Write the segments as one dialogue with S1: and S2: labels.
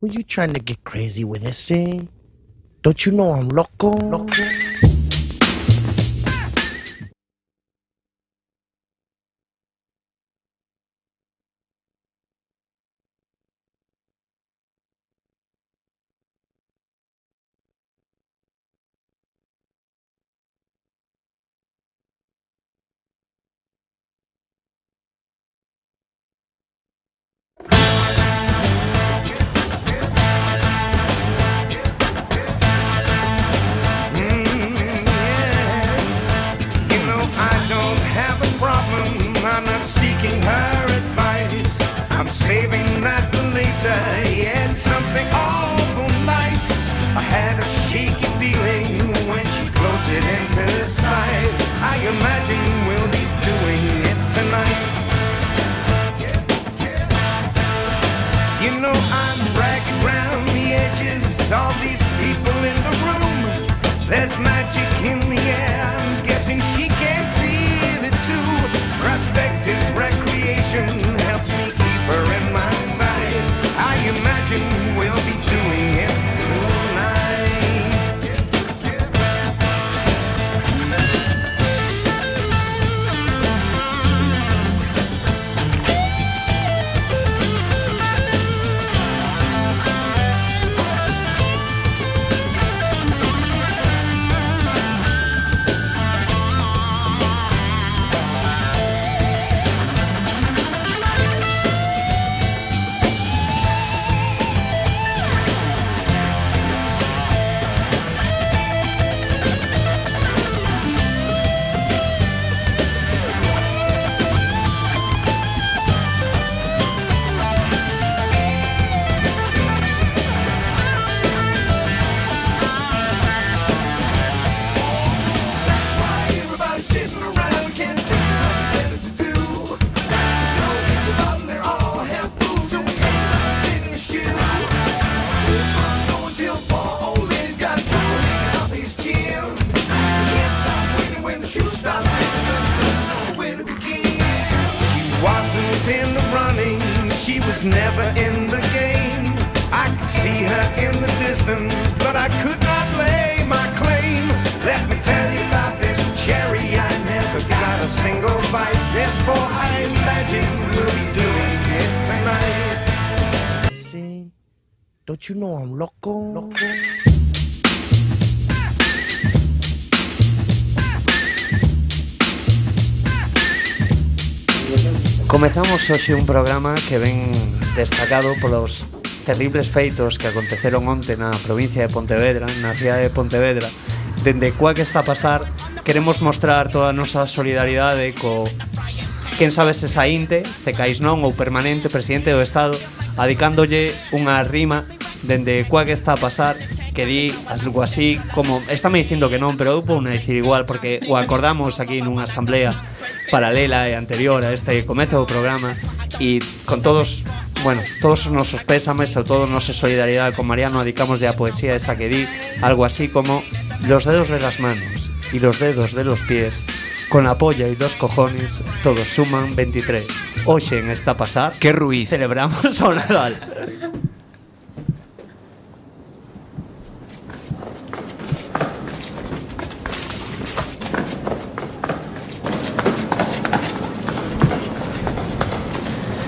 S1: Were you trying to get crazy with this, eh? Don't you know I'm loco? Loco.
S2: You know I don't have a problem. I'm not seeking her advice. I'm saving that for later. Yeah, it's something awful nice. I had a shaky feeling when she floated into sight. I imagine we'll be doing it tonight. You know I'm ragged round the edges, all these people in the room. There's magic in the air, I'm guessing she can feel it too. Prospective recreation helps me keep her in my sight. I imagine we'll be doing it tonight. Everybody's sitting around, can't think of nothing better to do. There's no people about, they're all half fools, and we ain't not spinning a shoe. Keep on going till poor old lady's got trouble hanging off his chin. We can't stop winning when the shoe stops spinning, but there's nowhere to begin. She wasn't in the running, she was never in the game. I could see her in the distance, but I could not lay my claim. Let me tell you about this cherry. I never got a single bite. Therefore, I imagine we'll be doing it tonight.
S1: See? Don't you know I'm loco? Loco.
S3: Comezamos hoxe un programa que ven destacado polos terribles feitos que aconteceron onte na provincia de Pontevedra, na cidade de Pontevedra. Dende coa que está a pasar, queremos mostrar toda a nosa solidaridade co quen sabe se saínte, cecais non ou permanente presidente do Estado, adicándolle unha rima dende coa que está a pasar que di algo así como estáme dicindo que non, pero eu vou dicir igual porque o acordamos aquí nunha asamblea paralela e anterior a este comezo do programa e con todos, bueno, todos os nosos pésames e toda a nosa solidaridade con Mariano adicamos a poesía esa que di algo así como los dedos de las manos y los dedos de los pies con la polla y dos cojones todos suman 23 Oxe en esta pasar
S4: Qué ruiz.
S3: celebramos o Nadal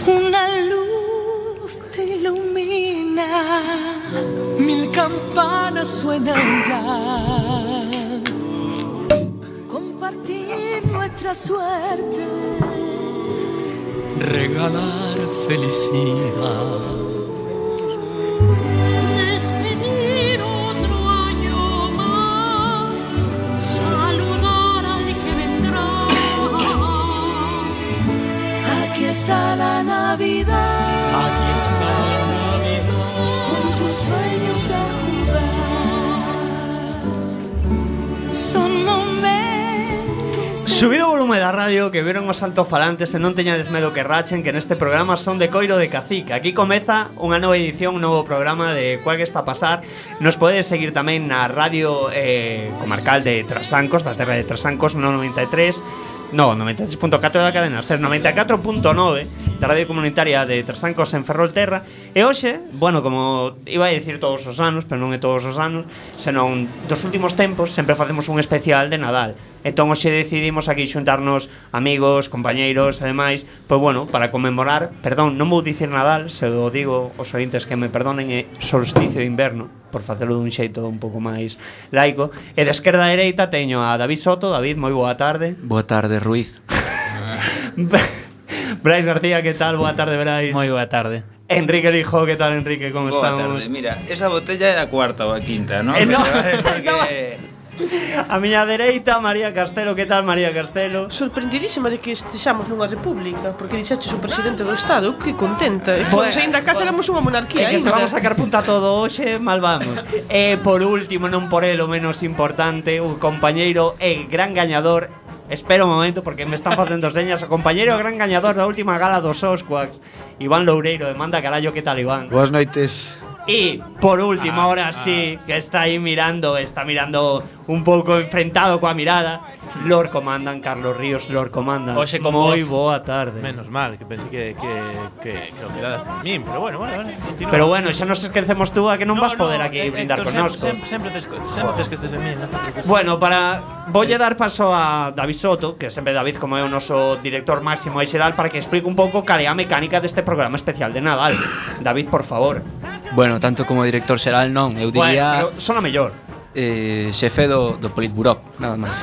S5: Una luz te ilumina, mil campanas suenan ya. Compartir nuestra suerte,
S6: regalar felicidad.
S7: Despedir otro año más, saludar al que vendrá.
S5: aquí está la Navidad,
S6: Aquí está Navidad,
S5: con tus sueños a jugar. Son momentos de
S3: Subido o volume da radio que viron os santofalantes e non teñades medo que rachen que neste programa son de coiro de cacique. Aquí comeza unha nova edición, un novo programa de Cual que está a pasar. Nos podedes seguir tamén na radio eh, comarcal de Trasancos, e da terra de e Trasancos, no 93, no, 93.4 da cadena, ser 94.9 da Radio Comunitaria de Trasancos en Ferrolterra E hoxe, bueno, como iba a dicir todos os anos, pero non é todos os anos Senón dos últimos tempos sempre facemos un especial de Nadal Entón hoxe decidimos aquí xuntarnos amigos, compañeiros e demais Pois bueno, para conmemorar, perdón, non vou dicir Nadal Se o digo os ointes que me perdonen é solsticio de inverno Por facelo dun xeito un pouco máis laico E da esquerda a dereita teño a David Soto David, moi boa tarde
S8: Boa tarde, Ruiz.
S3: Brais García, que tal? Boa tarde, Brais.
S8: Moi boa tarde.
S3: Enrique Lijo, que tal, Enrique? Como
S2: Boa
S3: estamos?
S2: tarde. Mira, esa botella é a cuarta ou a quinta, non?
S3: Eh, non,
S2: Porque...
S3: A miña dereita, María Castelo, que tal, María Castelo?
S9: Sorprendidísima de que estexamos nunha república Porque dixaches o presidente do estado Que contenta E
S3: Bueno,
S9: pois ainda casa éramos
S3: É
S9: unha monarquía
S3: que se
S9: aínda.
S3: vamos a sacar punta a todo hoxe, mal vamos E por último, non por el o menos importante O compañeiro e gran gañador Espera un momento porque me están facendo señas O compañeiro e gran gañador da última gala dos Osquax Iván Loureiro, e manda carallo, que tal, Iván?
S7: Boas noites.
S3: Y por
S1: Ah,
S3: último, ahora sí, que está ahí mirando, está mirando un pouco enfrentado coa mirada, Lord Comandan, Carlos Ríos, Lord Comandan.
S1: Hoxe con
S3: Moi
S1: voz.
S3: boa tarde.
S1: Menos mal, que pensé que, que, que, que o quedadas tamén Pero bueno, bueno, bueno continúa.
S3: Pero bueno, xa nos esquecemos tú a que non vas poder aquí
S1: eh,
S3: brindar
S1: Héctor,
S3: connosco.
S1: Sempre, sempre, te, esco- sempre te esqueces de mí non te preocupes.
S3: Bueno, para volle dar paso a David Soto, que sempre David como é o noso director máximo e xeral para que explique un pouco cal é a mecánica deste programa especial de Nadal. David, por favor.
S8: Bueno, tanto como director xeral non, eu
S3: Bueno,
S8: diría
S3: pero son a mellor.
S8: eh, xefe do, do Politburó, nada máis.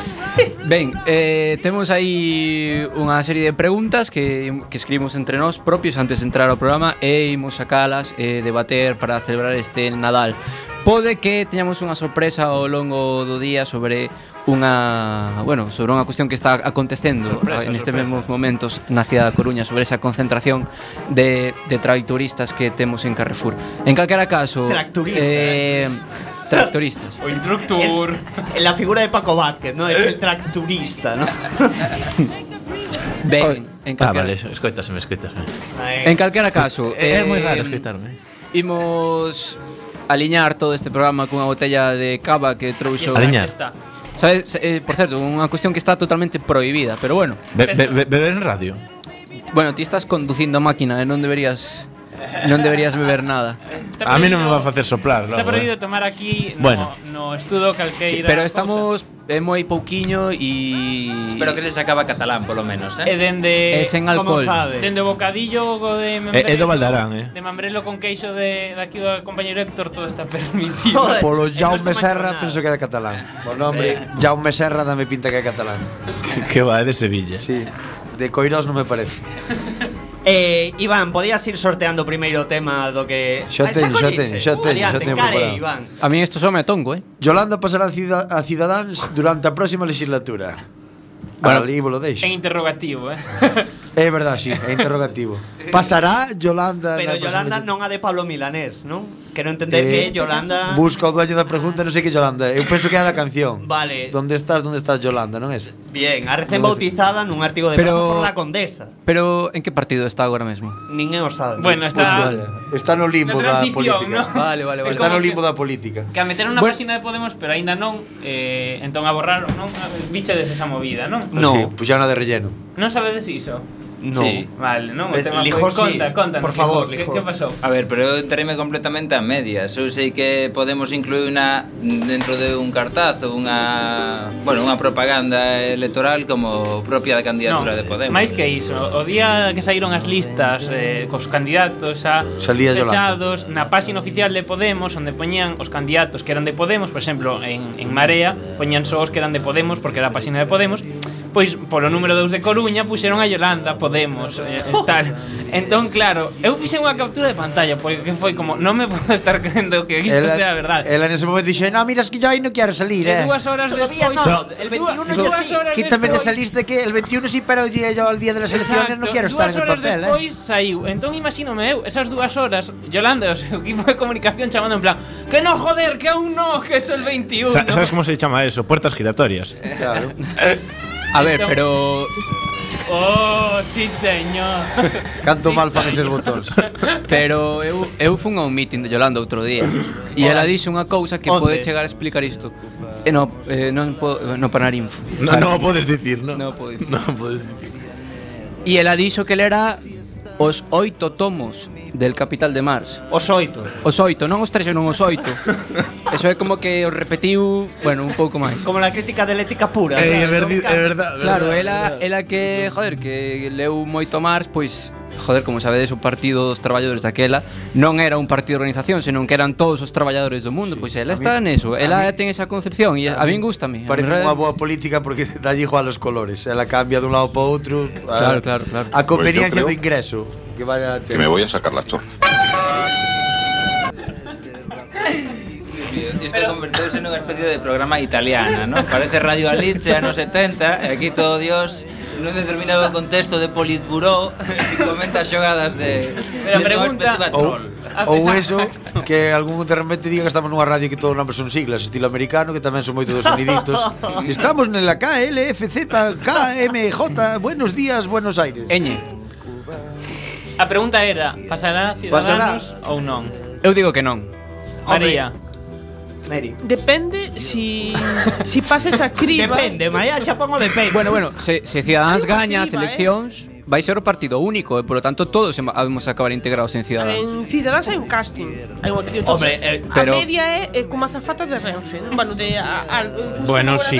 S8: Ben, eh, temos aí unha serie de preguntas que, que escribimos entre nós propios antes de entrar ao programa e imos sacalas e debater para celebrar este Nadal. Pode que teñamos unha sorpresa ao longo do día sobre unha, bueno, sobre unha cuestión que está acontecendo
S1: Sorpresa,
S8: neste
S1: sorpresa.
S8: mesmo momentos na cidade da Coruña sobre esa concentración de, de tractoristas que temos en Carrefour. En calquera caso,
S3: Tractoristas.
S8: eh, tractoristas.
S2: O instructor.
S3: Es la figura de Paco Vázquez, ¿no? Es el
S8: Eh.
S3: tracturista, ¿no?
S8: Ben, en
S1: Ah,
S8: calquera,
S1: vale, eso, escoitasme, escoitasme
S8: en calquera caso,
S1: É, é moi Eh, raro
S8: em,
S1: escoitarme
S8: Imos aliñar todo este programa cunha botella de cava que trouxo.
S1: Aliñar
S8: Sabes, eh, por certo, unha cuestión que está totalmente prohibida, pero bueno.
S1: be, be, be, Beber en radio
S8: Bueno, ti estás conducindo a máquina e non deberías non deberías beber nada.
S1: A mí non me va a facer soplar
S10: Está
S1: logo,
S10: prohibido
S1: eh.
S10: tomar aquí no,
S1: Bueno.
S10: no estudo
S8: Sí,
S10: calqueira.
S8: pero
S10: cousa.
S8: estamos é moi pouquiño e
S2: Espero que les acaba catalán, polo menos,
S10: E
S2: eh?
S8: é
S10: dende
S8: sen alcohol.
S10: dende o bocadillo go de
S1: É, é do Valdarán, eh
S10: De mambrelo con queixo de daqui do compañeiro Héctor todo está permitido.
S3: Joder,
S7: Polo
S3: eh, no
S7: Jaume
S3: se manchou
S7: Serra
S3: nada.
S7: penso que era catalán. O nome Jaume Serra dame pinta que é catalán.
S1: Que va, é de Sevilla
S7: Sí, de Coirós non me parece.
S3: Eh, Iván, podías ir sorteando primeiro o tema do que...
S7: Xa
S3: Ah,
S7: teño, xa
S3: colliches.
S7: teño, xa teño, xa
S3: Adiante,
S7: teño
S3: encare,
S7: preparado.
S3: Iván.
S8: A mí isto só me tongo, eh.
S7: Yolanda pasará a, cida a Cidadáns durante a próxima legislatura. Bueno, ali volo deixo.
S10: En interrogativo, eh.
S7: É verdade, sí, é interrogativo. Pasará Yolanda
S3: Pero
S7: na próxima
S3: Yolanda
S7: lexi-
S3: non a de Pablo Milanés, non? Quero entender
S7: Eh,
S3: que Yolanda...
S7: Busca o dueño da pregunta, non sei que Yolanda. é. Eu penso que é a da canción.
S3: Vale.
S7: Donde estás, donde estás Yolanda, non é? esa?
S3: Bien, a recén bautizada nun artigo de
S8: Pero-
S3: Paco por la condesa.
S8: Pero en que partido está agora mesmo?
S3: Ninguén o sabe.
S10: Bueno, está
S7: Está no limbo da
S10: Na transición,
S7: política.
S10: ¿no?
S8: Vale, vale, vale.
S10: Es
S7: Está
S10: como
S7: no
S10: que-
S7: limbo da política.
S10: Que a meter unha
S8: Bueno.
S10: página de Podemos, pero aínda non, eh, entón a borrar, non, bichedes esa movida, non?
S3: No.
S7: Sí, pois xa na de relleno.
S10: Non sabedes iso?
S3: No.
S2: Sí.
S10: Vale, non, o
S3: Eh,
S10: tema
S3: Lijó, sí.
S10: foi... Conta, conta,
S3: Por favor,
S10: que,
S3: Lijó.
S10: que pasou?
S2: A ver, pero eu entereime completamente a medias. Eu sei que podemos incluir unha dentro de un cartaz ou unha, bueno, unha propaganda electoral como propia da candidatura de Podemos.
S10: máis que iso, o día que saíron as listas eh, cos candidatos a
S7: Salía Yolanda.
S10: fechados na páxina oficial de Podemos onde poñían os candidatos que eran de Podemos, por exemplo, en, en Marea, poñían só os que eran de Podemos porque era a páxina de Podemos, pois polo número 2 de Coruña puxeron a Yolanda Podemos eh, e tal. Entón, claro, eu fixen unha captura de pantalla porque foi como, non me podo estar creendo que isto sea verdade.
S7: Ela nese momento dixo, no, mira, es que yo aí non quero salir, eh.
S10: Que dúas horas
S3: Todavía
S10: despois,
S3: no, el 21
S10: dúas-
S3: ya
S10: dúas
S3: sí.
S10: horas
S7: Quítame de
S10: despois-
S7: esa lista que el 21 sí, pero yo yo al día de las elecciones no quiero estar
S10: dúas
S7: en el
S10: horas
S7: papel,
S10: despois
S7: eh.
S10: saiu. Entón imagínome eu esas dúas horas Yolanda e o seu equipo de comunicación chamando en plan Que no joder, que aún no, que es el 21
S1: Sa- Sabes como se chama eso? Puertas giratorias
S7: Claro.
S8: A ver, pero
S10: Oh, sí señor
S7: Canto
S10: Sí,
S7: mal fan eses
S10: señor.
S7: botóns.
S8: pero eu eu fun a un meeting de Yolanda outro día e ela dixo unha cousa que
S3: Onde?
S8: pode chegar a explicar isto. Eh, no, eh, non po, no parar info.
S1: No, no o podes dicir, no
S8: Non o podo dicir.
S1: No o podes dicir
S8: E ela dixo que ela era
S4: os oito tomos del Capital de Mars.
S11: Os oito?
S4: Os oito, non os tres, non os oito. Eso é como que os repetiu, bueno, un pouco máis.
S11: Como la crítica de ética pura.
S2: Eh,
S11: ¿no?
S2: é verdi- é verdad,
S4: Claro,
S2: verdad,
S4: ela, ela que, joder, que leu moito Marx, pois, joder, como sabedes, o Partido dos Traballadores daquela non era un partido de organización, senón que eran todos os traballadores do mundo, pois ela está neso, ela ten esa concepción e a, min gustame. a
S8: Parece
S4: min
S8: unha boa política porque dalle igual os colores. Ela cambia dun lado para outro.
S4: Claro, claro, claro.
S8: A
S12: Pois eu
S8: conveniencia do
S12: Pues creo
S8: ingreso. Que vaya
S12: Que me voy a sacar la chorra.
S13: Isto converteuse nunha especie de programa italiana, non? Parece Radio Alice anos 70, e aquí todo Dios nun determinado contexto de Politburó comenta xogadas de
S10: Pero
S13: de
S10: pregunta-
S13: perspectiva
S8: Ou,
S13: troll.
S2: Ah,
S8: ou eso que algún de repente diga que estamos nunha radio que todos os nombres son siglas, estilo americano, que tamén son moito dos soniditos. estamos nela KLFZ, KMJ, buenos días, Buenos Aires.
S4: Eñe.
S10: A pregunta era, pasará Ciudadanos ou non?
S4: Eu digo que non.
S10: María.
S11: Mary.
S9: Depende si, si pases a criba.
S3: Depende, Maya, xa pongo depende.
S4: Bueno, bueno, se, se Ciudadanos
S9: Hai unha
S4: gaña as
S2: eh?
S9: criba,
S4: eleccións, vai ser o partido único, e polo tanto todos em- habemos acabar integrados en Ciudadanos.
S9: En Ciudadanos hai un casting. Hai un actriz.
S4: Hombre, eh, pero-
S9: A media é eh, como azafatas de Renfe. non? Bueno, de... A, a,
S2: Bueno, sí.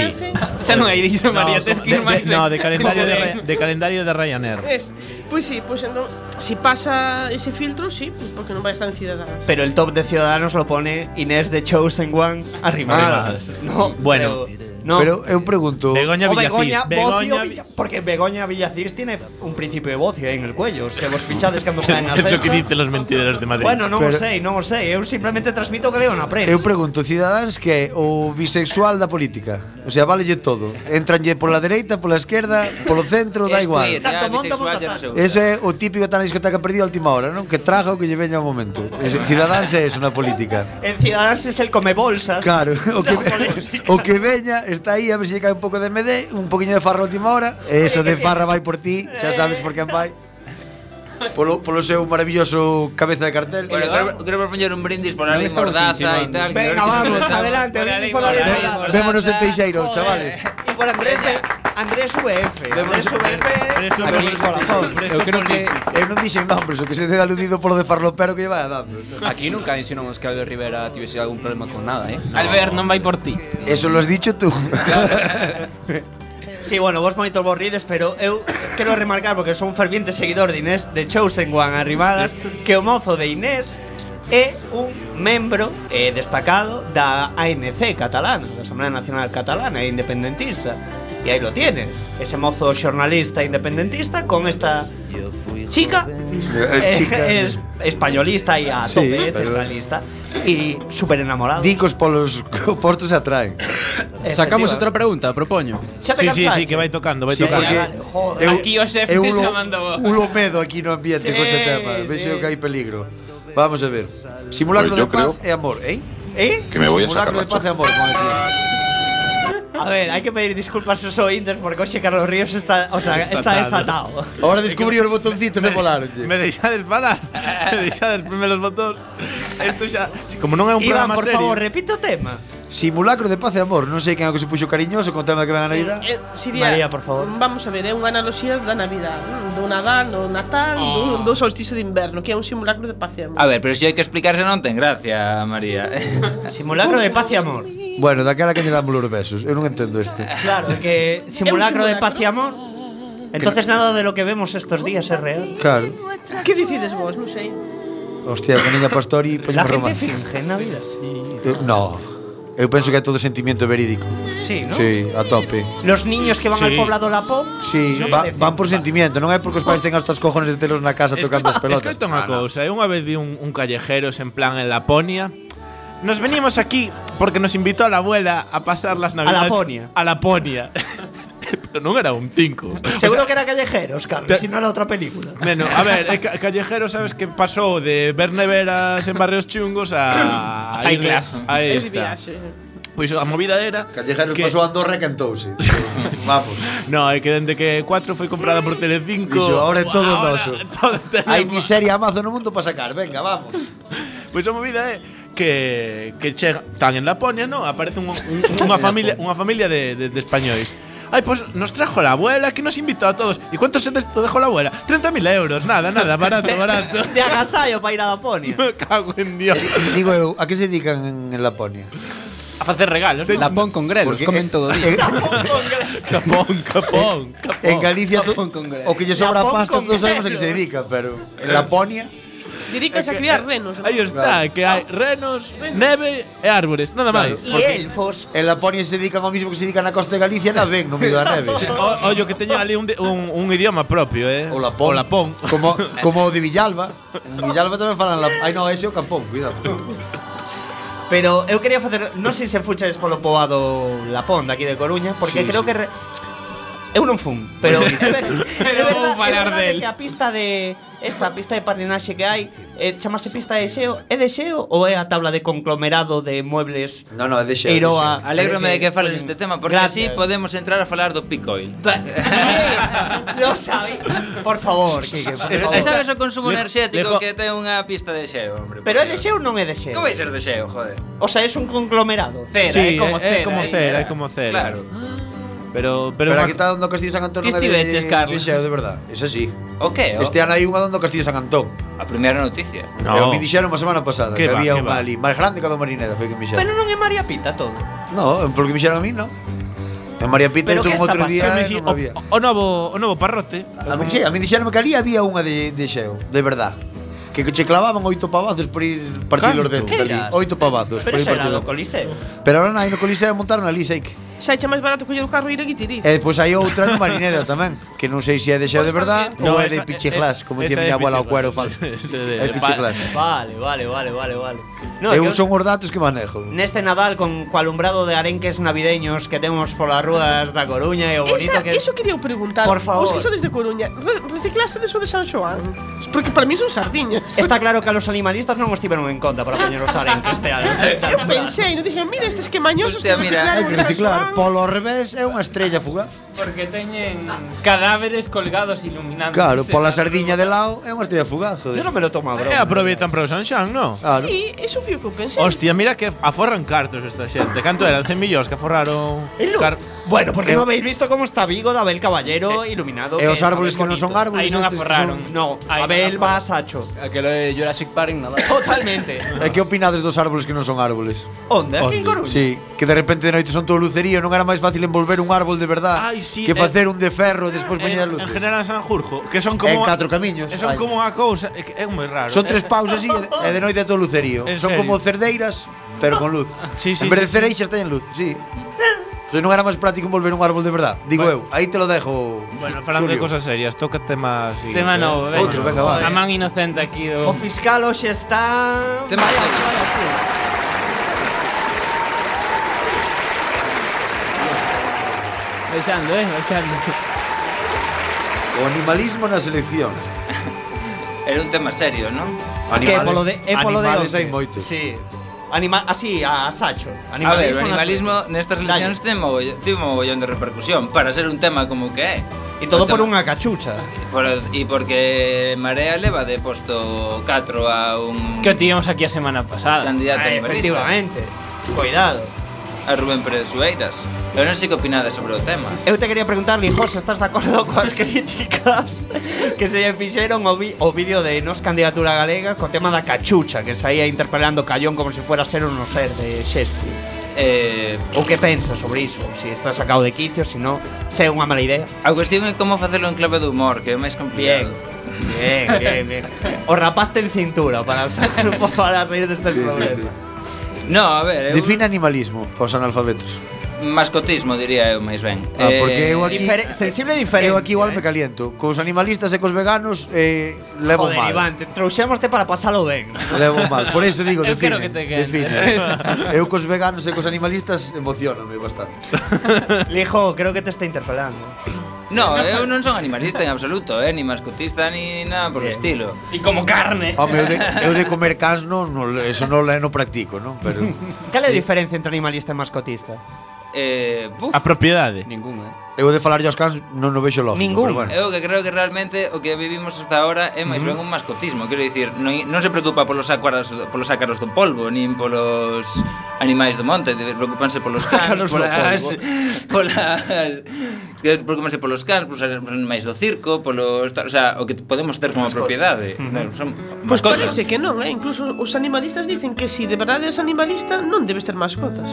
S10: Xa non hai diso, María, tes que ir
S2: de-
S10: máis
S2: de- No, de
S10: en-
S2: calendario de,
S10: Joder.
S2: Ra- de calendario de Ryanair.
S9: Es, pois sí, pois entón, si pasa ese filtro, sí, pues porque non vai estar en Ciudadanos.
S3: Pero el top de Ciudadanos lo pone Inés de Chosen One arrimada.
S2: Arrimadas.
S3: No,
S2: Bueno.
S3: pero- no.
S8: Pero eu pregunto,
S3: o Begoña,
S2: Begoña
S3: Bocio, Villa- porque Begoña Villacís tiene un principio de bocio ahí en el cuello. Se vos fichades cando
S2: Es
S3: saen
S2: lo
S3: a
S2: que
S3: sexta.
S2: dicen los mentideros de Madrid.
S3: Bueno, non o
S8: Pero-
S3: sei, non o sei. Eu simplemente transmito o que leo na prensa.
S8: Eu pregunto, Ciudadanos que é o bisexual da política? O sea, valelle todo. Entranlle pola dereita, pola esquerda, polo centro, da igual.
S13: Tanto monta, monta, tanto.
S8: Ese é o típico que está na discoteca perdido a última hora, non? Que traga o que lle veña ao momento. Ciudadanos é eso na política.
S3: En Ciudadanos es el come bolsas.
S8: Claro, o que, o que veña está aí a ver se lle cae un pouco de MD, un poquinho de farra a última hora. E eso de farra vai por ti, xa sabes por quen vai. Polo, polo seu maravilloso cabeza de cartel.
S13: Bueno, quero, quero propoñer un brindis por la
S8: Non
S13: ley
S8: estamos
S13: mordaza e
S8: insinuando.
S13: tal.
S8: Venga, vamos,
S3: adelante, brindis por la ley mordaza.
S8: Vémonos en Teixeiro, chavales.
S3: Y por Andrés, V- Andrés VF. Andrés VF. Andrés corazón.
S4: Eu creo que
S8: Eu non dixen nombres, o que se dé aludido polo de farlopero que pues, lle vai dando.
S4: aquí nunca insinuamos que Albert Rivera tivese algún problema con nada, eh.
S10: Albert, non vai por ti.
S8: Eso lo has dicho tú.
S3: Sí, bueno, vos moito vos rides, pero eu quero remarcar porque son un ferviente seguidor de Inés de Chosen One Arrimadas, que o mozo de Inés é un membro eh, destacado da ANC catalana, da Asamblea Nacional Catalana e independentista. E aí lo tienes, ese mozo xornalista independentista con esta chica,
S8: Eh, chica.
S3: eh, es españolista e a
S8: Sí,
S3: tope
S8: pero-
S3: centralista e super enamorado.
S8: Dicos polos opostos atraen.
S4: Sacamos outra pregunta, propoño.
S3: Xa te Sí, sí, cansaches? sí, que vai
S2: tocando,
S8: vai Sí, tocando. porque
S10: Joder. Aquí o xefe
S8: eu
S10: xa
S8: lo-
S10: manda voz.
S8: eu lo medo aquí no ambiente
S10: Sí,
S8: con este tema.
S10: sí.
S8: Vexo que hai peligro. Vamos a ver. Simulacro
S12: Pues yo
S8: de paz
S12: creo-
S8: e amor, ¿eh?
S3: ¿Eh?
S12: Que me voy a sacar
S8: Simulacro
S12: la
S8: de paz e
S12: chorra.
S8: amor. como decía.
S3: A ver, hai que pedir disculpas aos ointes porque hoxe Carlos Ríos está, o sea, está
S2: Desatado.
S3: desatado.
S8: Ahora descubrí os botoncitos e volaron.
S2: Me deixades falar. Me deixades primeros botóns. Isto xa, como non é un
S3: Iván,
S2: programa
S3: por
S2: serio.
S3: favor, repite o tema.
S8: Simulacro de paz e amor. Non sei quen é o que se puxo cariñoso con o tema que van a Navidad.
S9: Eh, sería,
S8: María, por favor.
S9: Vamos a ver, é unha analoxía da Navidad, mm, do Nadal, do Natal, do, do solsticio de inverno, que é un simulacro de paz e amor.
S13: A
S8: Ah,
S13: ver, pero se hai que explicarse non ten gracia, María.
S3: Simulacro de paz e amor.
S8: Bueno, daquela que lle dan os besos. Eu non entendo este.
S3: Claro, é que simulacro de paz e amor. Entonces nada de lo que vemos estos días es real.
S8: Claro.
S9: Que dicides vos, non sei?
S8: Hostia, con Niña Pastori
S3: La
S8: poñemos
S3: gente
S8: romance.
S3: finge en Navidad.
S8: Eu- No. Eu penso que é todo sentimento verídico.
S3: Sí, ¿no?
S8: Sí, a tope.
S3: Los niños que van
S8: Sí.
S3: al poblado La Pon.
S8: Sí,
S3: Sí.
S8: va- van por sentimiento, non é porque os pais tengan estos cojones de telos na casa tocando as pelotas.
S2: Escoita unha cousa, eu unha vez vi un, un callejeros en plan en Laponia. Nos venimos aquí porque nos invitó a la abuela a pasar las navidades
S3: Laponia.
S2: A Laponia. Pero non era un 5.
S3: Seguro que era callejeros, Carlos, si no era otra película.
S2: Bueno, a ver, eh, ca- Callejero, sabes que pasó de ver neveras en barrios chungos a. ir
S8: High
S2: de-
S8: class.
S2: A
S8: Es
S2: esta. Pois a movida era.
S8: Callejeros pasou a Andorra e cantouse. Vamos.
S2: No, é que dende que 4 foi comprada por Telecinco.
S8: Dixo, ahora é todo noso.
S2: todo
S8: Hai miseria amazo no mundo para sacar, venga, vamos.
S2: Pois a movida é que que chega tan en Laponia, no, aparece un, un,
S8: Están
S2: unha
S8: en
S2: familia,
S8: Laponia.
S2: unha familia de, de, de españois. Ay, pues nos trajo la abuela, que nos invitó a todos. ¿Y cuántos en esto dejó la abuela? 30.000 euros, nada, nada, barato, barato.
S3: De agasallo para ir a Laponia.
S2: Me cago en Dios.
S8: Digo eu, a que se dedican en, en Laponia?
S10: A facer regalos.
S4: La pon con grelos,
S8: Porque,
S4: comen
S8: eh,
S4: todo o día.
S8: eh,
S2: Capón, capón, capón.
S8: En Galicia to- o que lle sobra
S9: Lapón
S8: pasta
S9: con
S8: todos sabemos a que se
S9: grelos.
S8: dedican, pero en Laponia
S9: Dedicas a criar renos.
S2: Ahí está, que
S10: Ah.
S2: hai renos, neve e árbores, nada máis.
S8: porque En Laponia se dedican ao mismo que se dedican na costa de Galicia, na ven no medio da neve.
S2: O, ollo que teñen ali un, de- un, un idioma propio, eh. O O
S8: Lapón.
S2: Lapón.
S8: Como como o de Villalba. En Villalba tamén falan la... Ai, no, ese é o Campón, cuidado.
S3: Pero eu quería facer, non sei se fuches polo poboado Lapón daqui de Coruña, porque
S8: Sí,
S3: creo
S8: sí.
S3: que re- eu non fun, pero
S10: Pero vou falar
S3: verdade
S10: del.
S3: que a pista de esta pista de patinaxe que hai, eh, chamase pista de xeo, é de xeo ou é a tabla de conglomerado de muebles?
S8: No, no, é de xeo,
S3: Eiroa.
S13: Alégrome de que fales este tema, porque así podemos entrar a falar do picoil.
S3: Lo sabéis. Por favor, Kike, por favor.
S13: E sabes o consumo
S3: Le-
S13: enerxético
S3: lejo-
S13: que ten unha pista de xeo, hombre.
S3: Pero é de xeo ou non é de xeo?
S13: Como vai ser de xeo, joder?
S3: O sea, es un conglomerado.
S10: Cera,
S2: Sí, eh,
S10: é como
S2: é- é
S10: cera.
S2: como
S10: é
S2: cera, é como cera.
S13: Claro.
S2: Pero pero,
S8: Pero
S2: ma-
S8: aquí está dando Castillo San Antón
S10: Que
S8: non é de,
S10: estiveches,
S8: de
S10: Carlos.
S8: xeo, de verdad. Ese sí.
S13: O que? O-
S8: Este ano hai unha dando Castillo San Antón.
S13: A primeira noticia.
S2: No.
S8: No. Eu me dixeron a semana pasada
S2: Que
S8: que,
S2: va,
S8: había
S2: que
S8: unha
S2: va.
S8: ali máis grande que a do Marineda, foi que me dixeron.
S3: Pero non é María Pita todo.
S8: No, porque me dixeron a mí, no. En María Pita
S3: Pero
S8: eu tuve
S3: que
S8: un outro
S3: está
S8: día
S2: pasando?
S8: e
S2: Sí,
S8: non había.
S2: eh, o novo, o novo parrote.
S8: A mí, che, a mí dixeronme que ali había unha de, de xeo, de verdad. Que che clavaban oito pavazos por ir partir
S2: Canto?
S8: os dedos
S3: Que
S8: ali.
S3: dirás?
S8: Oito pavazos
S3: Pero
S8: por ir
S3: eso era
S8: partir
S3: do
S8: os dedos.
S3: Coliseo.
S8: Pero ahora non hai no Coliseo montaron ali, sei que.
S9: Xa echa máis barato coller o carro e ir a Guitiriz.
S8: E despois hai outra no Marineda tamén, que non sei se é de xeo de verdad
S2: No,
S8: ou é de
S2: esa-
S8: pichiglas,
S2: es-
S8: como
S2: esa é
S8: dicía miña abuela o
S2: pichiglas.
S8: cuero falso.
S2: Ese de-
S8: É pichiglas.
S3: Vale, vale, vale, vale, vale. No,
S8: Eu
S3: que
S8: son os datos que manejo.
S3: Neste este Nadal con co alumbrado de arenques navideños que temos polas rúas da Coruña e o bonito
S9: Esa,
S3: que
S9: Eso quería preguntar.
S3: Por favor.
S9: Os que sodes de Coruña, re reciclaste de eso de San Xoán? Porque para mí son sardiñas.
S3: Está claro que a los animalistas non os tiveron en conta para poñer os arenques este ano.
S9: Eu pensei, non dixen, mira, estes que mañosos
S13: Hostia, mira,
S8: Hai que
S9: reciclaron de San
S8: reciclar,
S9: Xoán.
S8: polo revés é unha estrella fugaz.
S10: Porque teñen cadáveres colgados iluminando.
S8: Claro, pola sardiña de lado é unha estrella fugaz, joder.
S3: Yo non me lo tomo a
S2: E
S8: Eh,
S3: broma.
S2: aproveitan para o Sanxan, no?
S8: Claro.
S9: Sí, eso foi o que eu pensei.
S2: Hostia, mira que aforran cartos esta xente. Canto eran 100 millóns que aforraron
S3: E lo-
S2: car-
S3: Bueno, porque
S8: Eu-
S3: non habéis visto como está Vigo de Abel Caballero iluminado.
S8: E os árboles que non son árboles,
S10: Aí non
S8: estes que
S10: aforraron.
S8: son-
S3: No,
S10: Ay,
S3: Abel
S10: no.
S3: va a Sacho.
S4: Aquelo é Jurassic Park en Nadal.
S3: Totalmente.
S8: E que opinades dos árboles que non son árboles?
S3: Onda, aquí en Coruña.
S8: Sí, que de repente de noite son todo lucería, non era máis fácil envolver un árbol de verdad
S2: Ai, sí, eh,
S8: que facer un de ferro e despois poñer
S2: en,
S8: as
S2: en
S8: luces.
S2: General Sanjurjo, que son como
S8: En catro camiños.
S2: Son
S8: Ai.
S2: como unha cousa, é, que é moi raro.
S8: Son tres
S2: Eh,
S8: paus así e de- e de noite é todo lucerío.
S2: En
S8: Son
S2: serio?
S8: como cerdeiras, pero con luz.
S2: Sí, sí,
S8: en vez
S2: sí,
S8: de cereixas teñen luz, sí. Entón non era máis práctico envolver un árbol de verdad. Digo eu, aí te lo dejo.
S2: Bueno, falando de
S8: Xulio.
S2: cosas serias, toca tema así.
S10: Tema novo, venga.
S8: Outro, venga, va. eh.
S10: A man inocente aquí do...
S3: O fiscal hoxe está...
S13: Tema
S3: Vaya,
S13: serio.
S3: vaya, tío.
S10: Baixando, eh, baixando.
S8: O animalismo nas eleccións.
S13: Era un tema serio, non?
S3: Que é polo de, é polo de
S8: animales
S3: onte.
S8: hai moitos.
S3: Sí. Anima, así, a Sacho.
S13: A ver, o
S3: nas
S13: animalismo
S3: redes.
S13: nestas eleccións ten mogollón, tivo mogollón de repercusión para ser un tema como que é.
S3: E
S13: O
S3: todo por
S13: tema-
S3: unha cachucha.
S13: Por, e porque Marea leva de posto 4 a un
S10: Que o tivemos aquí a semana pasada.
S13: candidato
S3: Ah,
S13: liberista,
S3: efectivamente. Cuidado.
S13: a Rubén Pérez Sueiras. Eu non sei que opinades sobre o tema.
S3: Eu te quería preguntar, Lijos, estás de acordo coas críticas que se lle fixeron o, vi, o vídeo de Nos Candidatura Galega co tema da cachucha, que saía interpelando Callón como se fuera a ser un no ser de Shakespeare.
S13: Eh,
S3: O que pensas sobre iso? Se si está sacado de quicio, se non, se é unha mala idea.
S13: a cuestión é como facelo en clave do humor, que é o máis complicado.
S3: Bien, bien, bien, bien. O rapaz ten cintura para sacar un pouco para este sair destes
S8: Sí, sí,
S3: problemas.
S13: No, a ver, eu,
S8: Define animalismo para os analfabetos.
S13: mascotismo diría eu máis ben. Eh,
S8: Ah, porque eu aquí
S3: Difere- sensible e diferente. eh.
S8: Eu aquí igual me caliento. Cos animalistas e cos veganos eh, levo
S3: Joder,
S8: mal.
S3: Iván, te trouxémoste para pasalo ben.
S8: Levo mal. Por eso digo,
S10: Eu
S8: define.
S10: quero que te quentes.
S8: define. eu cos veganos e cos animalistas emocioname bastante.
S3: Lijo, creo que te está interpelando.
S13: No, eu non son animalista en absoluto, eh, ni mascotista ni nada por o estilo.
S10: E como carne.
S8: Home, eu de, eu de comer cas non, non eso non, le- non practico, non? Pero
S3: Cal é a diferencia entre animalista e mascotista?
S13: eh, buf,
S2: A propiedade.
S13: Ninguna.
S8: Eu de falar aos cans non o vexo lógico,
S13: Ningún.
S8: pero bueno.
S13: Eu que creo que realmente o que vivimos hasta ahora é máis
S8: Ujú.
S13: ben un mascotismo, quero dicir, non, non se preocupa polos ácaros, polos ácaros do polvo, nin polos animais do monte, de- preocupanse polos cans,
S3: Ácaros do
S13: polas,
S3: polvo.
S13: polas que preocupanse polos cans, polos an- polos animais do circo, polos, tal, o sea, o que podemos ter como propiedade. Claro, Son
S9: Pois
S13: mascotas.
S9: parece que non, eh? incluso os animalistas dicen que si de verdade eres animalista non debes ter mascotas.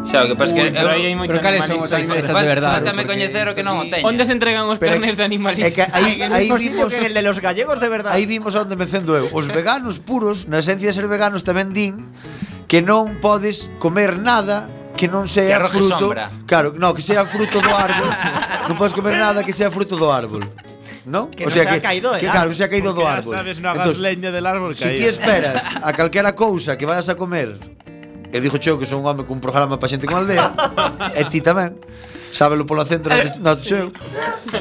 S13: Xa, o que pasa é que
S10: Ui, pero aí hai moito Pero cales son os animalista animalistas de verdade?
S13: Fátame
S10: Porque
S13: coñecer o que non o teño.
S10: Onde se entregan os
S8: Pero é
S10: carnes de animalistas?
S8: É que aí, aí vimos
S10: el
S8: de los gallegos de verdade. Aí vimos onde me cendo eu. Os veganos puros, na esencia de ser veganos tamén din que non podes comer nada que non
S3: Que
S8: sea
S3: arroje
S8: fruto.
S3: sombra.
S8: Claro, no, que sea fruto do árbol. non podes comer nada que sea fruto do árbol. ¿No?
S2: Que non sea caído del
S8: que, claro,
S2: árbol.
S8: que sea caído do
S2: Porque ya
S8: árbol.
S2: sabes, no hagas leña del árbol
S8: Si ti
S2: caído.
S8: esperas a calquera cousa que vayas a comer, e dixo eu que son un home cun programa para xente con aldea, e ti tamén, sábelo polo centro no show.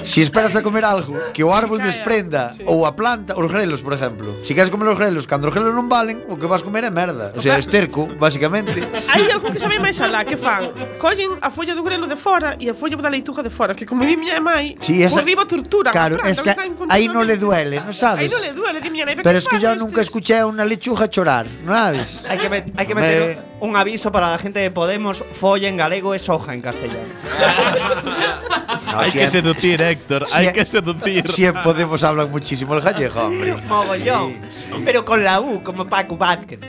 S8: Si esperas a comer algo que o árbol desprenda ou a planta, os grelos, por exemplo. Si queres comer os grelos, cando os grelos non valen, o que vas comer é merda. O sea, esterco, basicamente.
S9: Hai algo que sabe máis alá, que fan? Collen a folla do grelo de fora e a folla da leituja de fora, que como di miña mai,
S8: Sí, esa-
S9: por riba tortura.
S8: Claro, es que aí non le duele, non sabes?
S9: Aí non le duele, di miña nai,
S8: Pero es que yo nunca escuché a una lechuga chorar, ¿no sabes?
S3: Hay que, met- hay que meter un aviso para la gente de Podemos, folla en galego es hoja en castellano.
S2: Hay que seducir, Héctor. Hay que seducir.
S8: Si en Podemos hablan muchísimo el gallego, hombre.
S3: Mogollón. Pero con la U, como Paco Vázquez.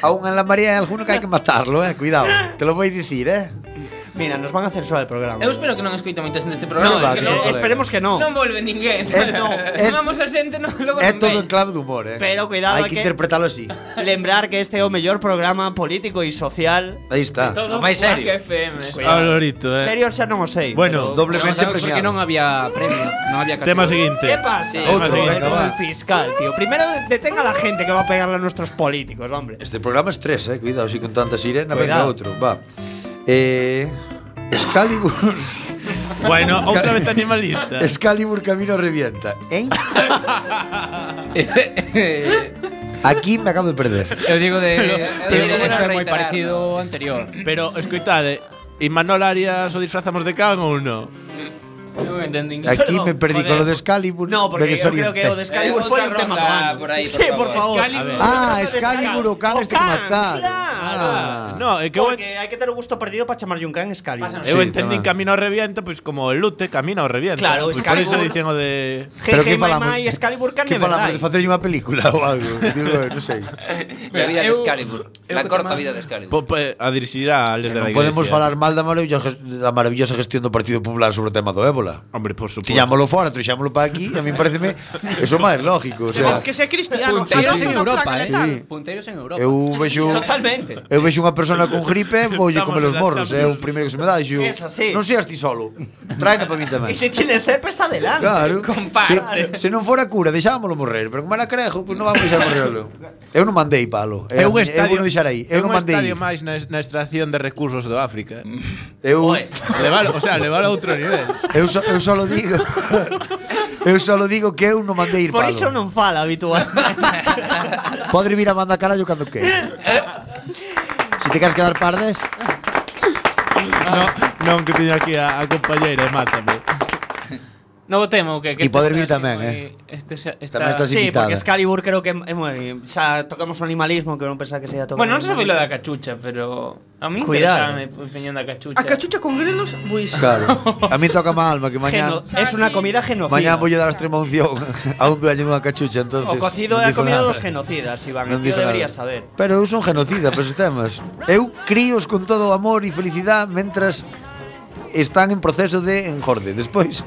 S8: Aún en la María hay alguno que hay que matarlo, eh. Cuidado, te lo voy a decir, eh.
S3: Mira, nos van a censurar el programa.
S10: Eu espero que non escoita moita xente este programa.
S8: No, que non, joder.
S3: esperemos que non.
S10: Non volve ninguén.
S8: Es- no, es-
S10: Chamamos a xente, non logo
S8: Es
S10: non
S8: todo en
S10: ven.
S8: clave de humor, eh.
S3: Pero cuidado, hay
S8: Hay que
S3: que-
S8: interpretarlo así.
S3: Lembrar que este es el mejor programa político y social.
S8: Ahí está.
S10: Todo
S3: máis
S10: Quack
S3: serio.
S10: FM.
S2: Ao lorito, eh.
S3: Serio xa non o sei.
S2: Bueno,
S3: pero-
S2: doblemente
S3: Vamos a ver,
S2: premiado.
S3: porque non
S4: había premio, non había
S2: Tema seguinte.
S3: ¿Qué pasa?
S2: Sí, Tema
S3: Otro,
S2: seguinte,
S3: como
S2: va.
S3: el fiscal, tío. Primero detenga a la gente que va a pegarle a nuestros políticos, hombre.
S8: Este programa es tres, eh. Cuidado, si con tanta sirena venga
S3: Cuidado.
S8: otro. Va. Eh. Excalibur.
S2: Bueno, otra vez animalista.
S8: Excalibur Camino Revienta. ¿Eh? Aquí me acabo de perder.
S4: Eu digo de,
S2: Pero-
S4: eu
S2: pero
S4: digo de isto é
S2: como era
S4: moi
S2: reiterado.
S4: parecido ao anterior.
S2: Pero escoitade, Imanol Arias o disfrazamos de can ou no?
S10: Non entendín.
S8: Aquí me perdí con lo de Excalibur.
S10: No, porque
S8: me
S10: eu creo
S8: desorienté.
S10: que o de Excalibur
S3: fue un tema pagano.
S10: por ahí,
S3: sí,
S10: por
S3: sí, por favor.
S8: Ah, Excalibur o Khan este que matar. Ah.
S2: No, é que eu,
S3: Porque hai que ter o gusto perdido para chamarlle un can Excalibur.
S2: eu entendín Camino ao Revienta, pois como o lute, Camino ao Revienta.
S10: eh,
S3: Claro,
S2: Pois por
S3: Excalibur-
S2: iso dicen o de...
S3: Pero que falamos? Mai, Excalibur can é
S8: Que falamos de
S3: verdade.
S8: facer unha película ou algo? Digo, non sei.
S13: La vida de
S4: Eu-
S13: Excalibur, la corta vida de Excalibur.
S2: Po, po, a dirixirá a les de la
S8: Non
S2: iglesia.
S8: podemos falar mal da maravillosa, da maravillosa gestión do Partido Popular sobre o tema do ébola.
S2: Hombre, por suposto.
S8: Tiñámoslo fora, trouxámoslo para aquí, a mí pareceme eso máis lógico, o sea.
S9: Que sea cristiano.
S4: Punteiros
S9: Sí.
S4: en Europa,
S9: Sí.
S4: eh.
S8: Sí.
S4: Punteiros en Europa.
S8: Eu vexo
S3: Totalmente.
S8: Eu vexo unha persona con gripe, voulle
S3: Estamos
S8: comer os
S3: na
S8: morros, é
S3: Champions.
S8: o primeiro que se me dá, dixo.
S3: Es así.
S8: Non seas ti solo. Traina para min tamén.
S3: E se tienes sepes, adelante.
S8: Claro.
S3: Comparte.
S8: Se, se non fora cura, deixámoslo morrer, pero como era crejo, pois pues non vamos deixar morrerlo. Eu non mandei palo.
S2: É un
S8: Eu
S2: estadio,
S8: vou deixar aí.
S2: é
S8: Eu
S2: un
S8: non mandei.
S2: estadio máis na, na extracción de recursos do África.
S8: Eu
S2: levalo, o sea, levalo a outro nivel.
S8: Eu, so, eu solo digo Eu solo digo que eu non mandei ir
S3: Por
S8: palo.
S3: iso non fala habitual.
S8: Podre vir a mandar carallo cando que Se te queres quedar pardes
S2: no, non que teño aquí a, a compañeira e mátame.
S10: Novo tema o que?
S8: Ti
S10: que
S8: poder vir
S10: este-
S8: tamén, eh.
S10: Este, este,
S8: Tamén estás
S3: sí,
S8: invitada.
S3: porque Excalibur creo que é moi... Xa tocamos o animalismo que non pensaba que se ia tocar.
S10: Bueno, non se sabe lo da cachucha, pero a mí
S3: Cuidado.
S10: interesame a opinión da cachucha.
S9: A cachucha con grelos, pois.
S8: Claro A mí toca má alma que mañá
S3: Geno- es una comida genocida.
S8: Mañá voulle dar a extrema unción A un dueño dunha cachucha entonces
S3: O cocido
S8: non
S3: é a
S8: digo
S3: comida
S8: nada.
S3: dos genocidas, Iván. el
S8: Non
S3: tío
S8: dixo nada.
S3: debería saber.
S8: Pero eu son genocida para esos temas Eu críos con todo o amor e felicidade Mentras están en proceso de engorde Despois,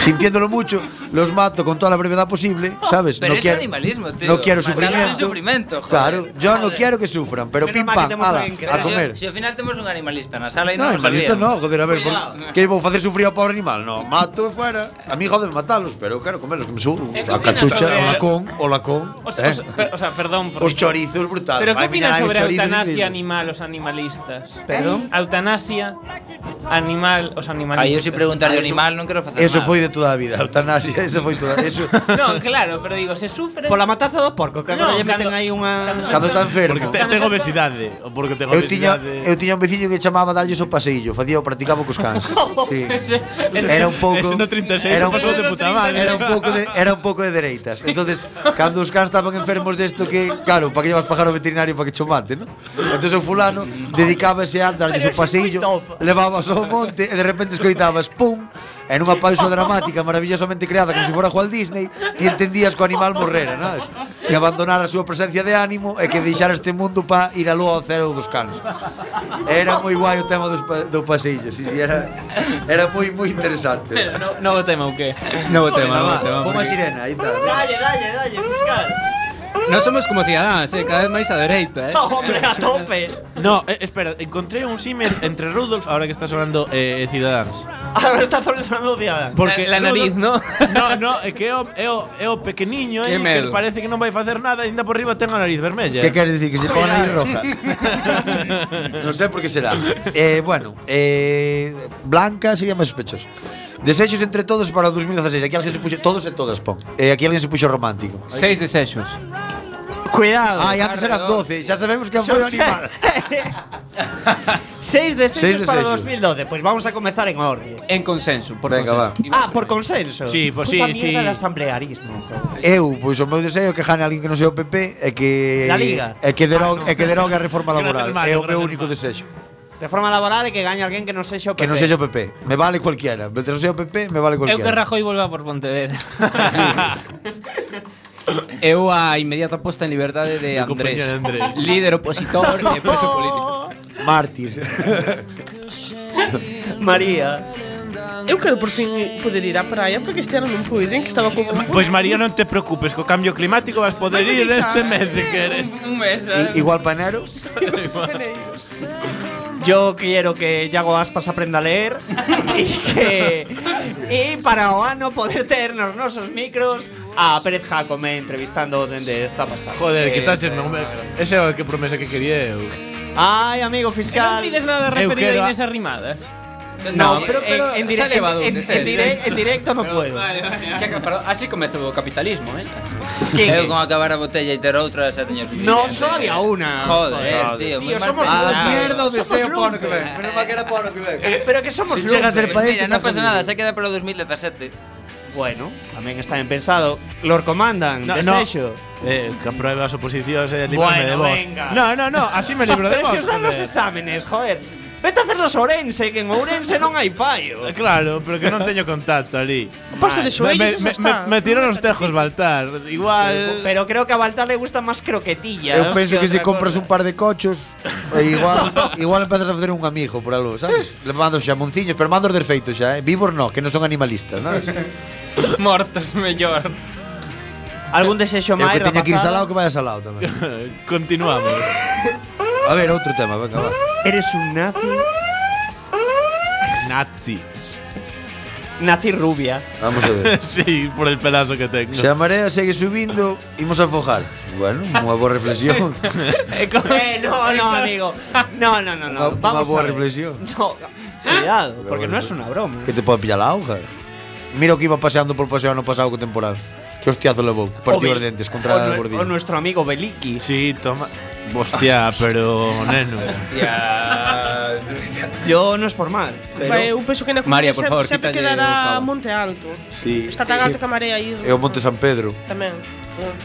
S8: sintiéndolo mucho Los mato con toda la brevedad posible ¿Sabes?
S13: Pero
S8: no
S13: es
S8: quiero,
S13: animalismo, tío.
S8: No quiero
S13: Matar
S8: sufrimiento
S13: es sufrimiento, joder.
S8: Claro, yo no quiero que sufran Pero
S13: Menos
S8: pim
S13: mal que
S8: pam,
S13: temos
S8: ala,
S13: alguén que
S8: a
S13: sabe.
S8: comer
S13: Si, si ao final temos un animalista na sala e
S8: No,
S13: non nos
S8: animalista
S13: sabíamos.
S8: no, joder, a ver, por, que vou facer sufrir ao pobre animal? No, mato e fuera. A mí jode matalos, pero eu quero comerlos, que me subo.
S10: Eh, que
S8: A
S10: opinas
S8: cachucha,
S10: sobre-
S8: o lacón, o lacón.
S10: O sea,
S8: eh.
S10: o sea, per- o sea, perdón por
S8: Os chorizos brutal.
S10: Pero que
S8: Vai, miña nai,
S10: opinas
S8: os
S10: sobre a
S8: chorizos
S10: eutanasia
S8: increíbles.
S10: animal os animalistas?
S8: Perdón?
S10: A Eutanasia animal, os animalistas.
S13: Aí eu se preguntas de animal non quero facer
S8: Eso
S13: mal.
S8: foi de toda a vida, a eutanasia, eso foi toda, eso.
S10: No, claro, pero digo, se sufre.
S3: Pola mataza do porco, que agora lle meten aí unha
S8: Cando está enfermo.
S2: Porque te, tengo obesidade, ou porque tengo
S8: Eu tiña,
S2: obesidade.
S8: eu tiña un veciño que chamaba darlle o paseillo, facía o practicaba cos cans. Sí. Era un pouco
S2: Ese no 36
S8: era un,
S2: pasou de puta madre.
S8: era un pouco de era un pouco de dereitas. Entonces, cando os cans estaban enfermos desto que, claro, para que llevas pagar ao veterinario para que cho mate, ¿no? Entonces o fulano dedicábase a darlle o paseillo, levabas ao monte e de repente escoitabas pum en unha pausa dramática maravillosamente creada como se fora Walt Disney e entendías que o animal morrera, ¿no? E abandonar a súa presencia de ánimo e que deixara este mundo para ir a lúa ao cero dos canos. Era moi guai o tema dos, pa- do pasillo, sí, sí, era, era moi moi interesante.
S10: No, novo tema ou que?
S4: Novo tema, novo
S8: va,
S4: tema.
S8: pon a
S4: porque
S8: sirena, aí está.
S3: Dalle, dalle, dalle, fiscal.
S4: Nós somos como cidadáns, eh, cada vez máis á dereita, eh.
S3: Hombre, a tope.
S2: No, eh, espera, encontré un símil entre Rudolf, ahora que está sonando eh, Ciudadanos.
S3: Agora está sonando de Adán.
S2: Porque
S10: La- la nariz,
S2: no? No, no, é que é o, é o, é o pequeniño aí
S3: Que
S2: que
S3: medo.
S2: parece que non vai facer nada e ainda por riba ten a nariz vermella.
S8: Que queres dicir que se pon a nariz roja? non sei por que será. Eh, bueno, eh, Blanca sería máis sospechosa. Desexos entre todos para o 2016. Aquí alguén se puxo todos e todas, pon. Eh, aquí alguén se puxo romántico.
S4: Seis desexos.
S8: Cuidado. Ai, antes eran 12, xa sabemos que foi o animal.
S3: Seis desexos
S8: Seis
S3: para
S8: desexos.
S3: 2012. Pois Pues vamos a comezar en orden.
S4: En consenso, por
S8: Venga,
S4: consenso.
S3: Ah, por consenso.
S8: Sí,
S2: pues
S8: pois
S3: Puta
S8: sí,
S3: mierda
S8: sí.
S3: de asamblearismo.
S8: Eu, pois o meu deseo é que gane alguén que non sea o PP e que
S3: La Liga.
S8: e que derogue, e que derogue a reforma
S3: Gracias,
S8: laboral.
S3: Mario,
S8: É o meu
S3: gracias,
S8: único desexo.
S3: Reforma laboral e que gañe alguén que non sexa o PP.
S8: Que non sexa o PP. Me vale cualquiera. Mientras non sea o PP, me vale
S10: Eu que
S8: cualquiera.
S10: Rajoy volva por Pontevedra.
S4: Eu a inmediata posta en liberdade de
S2: Mi compañero
S4: Andrés,
S2: Andrés.
S4: líder opositor e preso político.
S8: Mártir.
S3: María.
S9: Eu quero por fin poder ir á praia porque este ano non puiden, que estaba como
S2: Pois María, non te preocupes, co cambio climático vas poder
S9: Vai
S2: ir
S9: deixar.
S2: este mes se queres.
S10: Un mes.
S8: I- Igual pa enero.
S3: Yo quiero que Yago Aspas aprenda a leer e que e para o ano poder ter nos nosos micros a Pérez Jacome entrevistando dende esta pasada.
S2: Joder,
S3: Eh,
S2: quizás ese non me... Ese é o que promesa que quería eu.
S3: Ai, amigo fiscal.
S10: Non pides nada
S2: Eu
S10: referido
S2: quero
S10: a
S2: a-
S10: Inés Arrimada.
S3: No, pero, pero en, en, direct-
S4: leva dous,
S3: en, en, en,
S4: ese,
S8: ¿eh?
S3: direct- en directo no puedo.
S4: Así comezou o capitalismo, eh.
S13: Eu con acabar a botella e ter outra xa teño suficiente.
S3: No, solo había una.
S13: Joder, tío,
S3: tío,
S13: muy mal
S3: somos
S13: pensado.
S3: una.
S8: Mierda, o
S3: Somos
S8: deseo pa o ano
S3: lumbre.
S8: que ven. Menos mal que era pa o ano que ven.
S3: Pero que somos
S8: Si llega a ser
S3: lumbre.
S8: pa
S13: Mira,
S8: este,
S13: no
S8: pasa
S13: pasa
S8: nada.
S13: nada, se queda para o 2017.
S3: Bueno, tamén está ben pensado. Lord Comandan, no, desexo.
S2: Eh, que apruebe as oposicións e librarme de
S3: Bueno,
S2: vos.
S3: venga.
S2: No, no, no, así me libro de
S3: Pero
S2: vos.
S3: si os dan los
S2: joder.
S3: exámenes, joder. Vete a hacerlos a Ourense, que en Ourense non hai paio.
S2: Eh, Claro, pero que non teño contacto ali.
S3: Posto
S2: Me,
S3: de xoellos,
S2: me,
S3: eso
S2: me,
S3: está.
S2: me tirou os tejos, Baltar. Igual...
S3: Pero creo que a Baltar le gustan más croquetillas.
S8: Eu penso que se
S3: otra
S8: compras
S3: cosa.
S8: un par de cochos, e igual igual empezas a facer un amigo por algo, sabes? Le mando xamonciños, pero mando os desfeitos xa, eh? Vivos no, que non son animalistas, non?
S10: Mortos mellor.
S3: Algún desexo
S8: Eu
S3: máis,
S8: que teña que ir
S3: rapazada?
S8: salado que vaya salado tamén.
S2: Continuamos.
S8: A ver, outro tema, venga, va.
S3: Eres un nazi.
S2: Nazi.
S3: Nazi rubia.
S8: Vamos a ver.
S2: sí, por el pelazo que tengo.
S8: Se a marea segue subindo, imos a fojar. Bueno, unha boa reflexión.
S3: Eh, no, no, amigo. No, no, no, no.
S8: Unha-
S3: Vamos
S8: unha boa
S3: a ver.
S8: reflexión.
S3: No, cuidado, porque no es una broma.
S8: Que te pode pillar a auga. Mira o que iba paseando por paseo ano pasado co temporal. Que hostiazo levou. Partiu
S3: O
S8: os
S3: Bel-
S8: dentes contra
S3: o
S8: a
S3: nue-
S8: gordillo.
S3: O nuestro amigo Beliki.
S2: Sí, toma. Hostia, pero neno.
S3: Yo no es por mal. Pero...
S9: Vai, eu penso que na
S2: María, por favor,
S9: sempre
S2: quítalle
S9: quedará
S2: o cabo.
S9: Monte Alto.
S8: Sí.
S9: Está tan alto que a marea ir
S8: E o Monte San Pedro.
S9: tamén.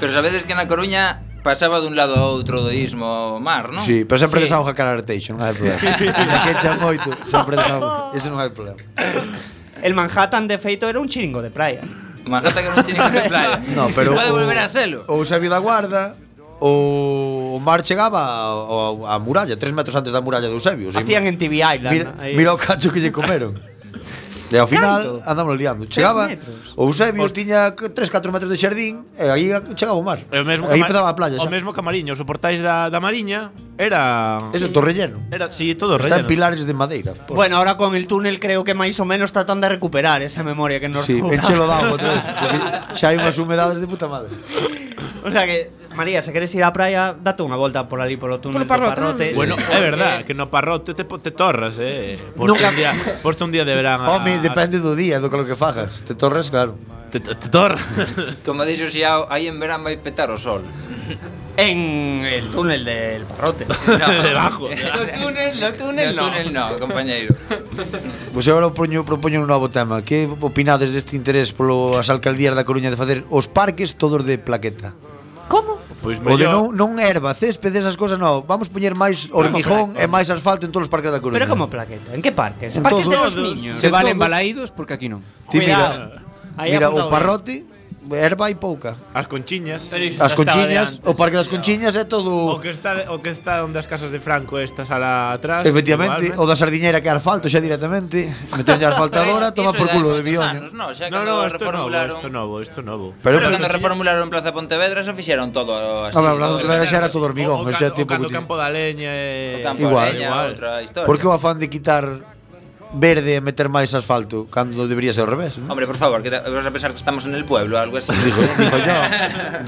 S13: Pero sabedes que na Coruña pasaba dun lado a outro do ismo ao mar, non?
S8: Sí, pero sempre desauga cara arteixo, non hai problema. Ainda que echa moito, sempre desauga. Ese non hai problema.
S3: El Manhattan de feito era un chiringo de playa.
S13: Manhattan era un chiringo de playa.
S8: No, pero
S13: Pode
S8: o-
S13: volver a selo.
S8: Ou xa vida guarda, o o mar chegaba a, a, a muralla, tres metros antes da muralla de Eusebio. o sea,
S3: Hacían en TV Island.
S8: Mira,
S3: ahí.
S8: mira o cacho que lle comeron. E ao final andamos liando. Chegaba
S2: metros?
S8: o Eusebio tiña 3 4 metros de xardín e aí chegaba o mar.
S2: O mesmo
S8: aí
S2: camar-
S8: empezaba a playa.
S2: O
S8: Xa.
S2: mesmo camariño, os soportais da, da mariña era...
S8: Eso, todo relleno.
S2: Era, sí, todo
S8: Está
S2: relleno.
S8: en pilares de madeira. por-
S3: Bueno, ahora con el túnel creo que más o menos tratan de recuperar esa memoria que nos
S8: Sí,
S3: robaron.
S8: enchelo de agua outra vez, porque Xa hai unhas humedades de puta madre.
S3: O sea que, María, se queres ir á praia, date unha volta por ali polo túnel
S2: Polo
S3: do
S2: parrote.
S3: Parrote.
S2: Bueno, é verdad, que no parrote te, po- te torras, eh. Poste
S8: Nunca-
S2: un día, poste un día de verán. a-
S8: Home, Oh, depende do día, do que lo que fagas. Te torres, claro.
S2: Te, torres.
S13: Como dixo Xiao, aí en verán vai petar o sol.
S3: En el túnel del Parrote.
S13: Debajo.
S10: No túnel, no túnel,
S13: No
S10: no.
S13: túnel no, compañeiro.
S8: Pois agora propoño, propoño un novo tema. Que opinades deste interés polo as alcaldías da Coruña de facer os parques todos de plaqueta?
S2: Pois
S8: O de
S2: mellor.
S8: non, non erva, céspedes, esas cosas, non. Vamos poñer máis hormigón e máis asfalto en todos os parques da Coruña.
S3: Pero como plaqueta? En que parques?
S8: En
S3: parques de
S8: todos.
S3: los niños.
S8: Se valen
S4: balaídos porque aquí non.
S8: Ti
S3: Cuidado.
S8: mira,
S3: Aí
S8: mira
S3: apuntado
S8: o parrote, erva e pouca.
S2: As conchiñas.
S8: As conchiñas, o parque das conchiñas é todo...
S2: O que está de- o que está onde as casas de Franco estas a la atrás.
S8: Efectivamente,
S2: igualmente.
S8: o da sardiñeira que é asfalto xa directamente, meten a asfaltadora,
S13: Pero
S8: toma
S13: iso
S8: por
S13: é
S8: culo
S13: de
S8: de bión.
S13: anos, No, xa
S2: No,
S13: cando
S2: no, isto é novo,
S13: reformularon...
S2: isto é novo, isto é novo.
S13: Pero,
S8: Pero-
S13: cando reformularon Plaza Pontevedra, eso fixeron todo así.
S8: Home,
S13: todo
S8: hablando outra vez
S13: verde.
S8: xa era todo
S2: O,
S8: hormigón,
S2: o, can,
S8: xa é
S2: o
S8: tempo
S2: cando
S8: que ti-
S2: campo da leña
S13: O
S2: e- é
S13: campo da
S8: Igual.
S13: leña, outra historia.
S8: Por que o afán de quitar verde e meter máis asfalto cando debería ser ao revés? ¿no?
S13: Hombre, por favor, que te- vas a pensar que estamos en el pueblo, algo así.
S8: Dijo yo,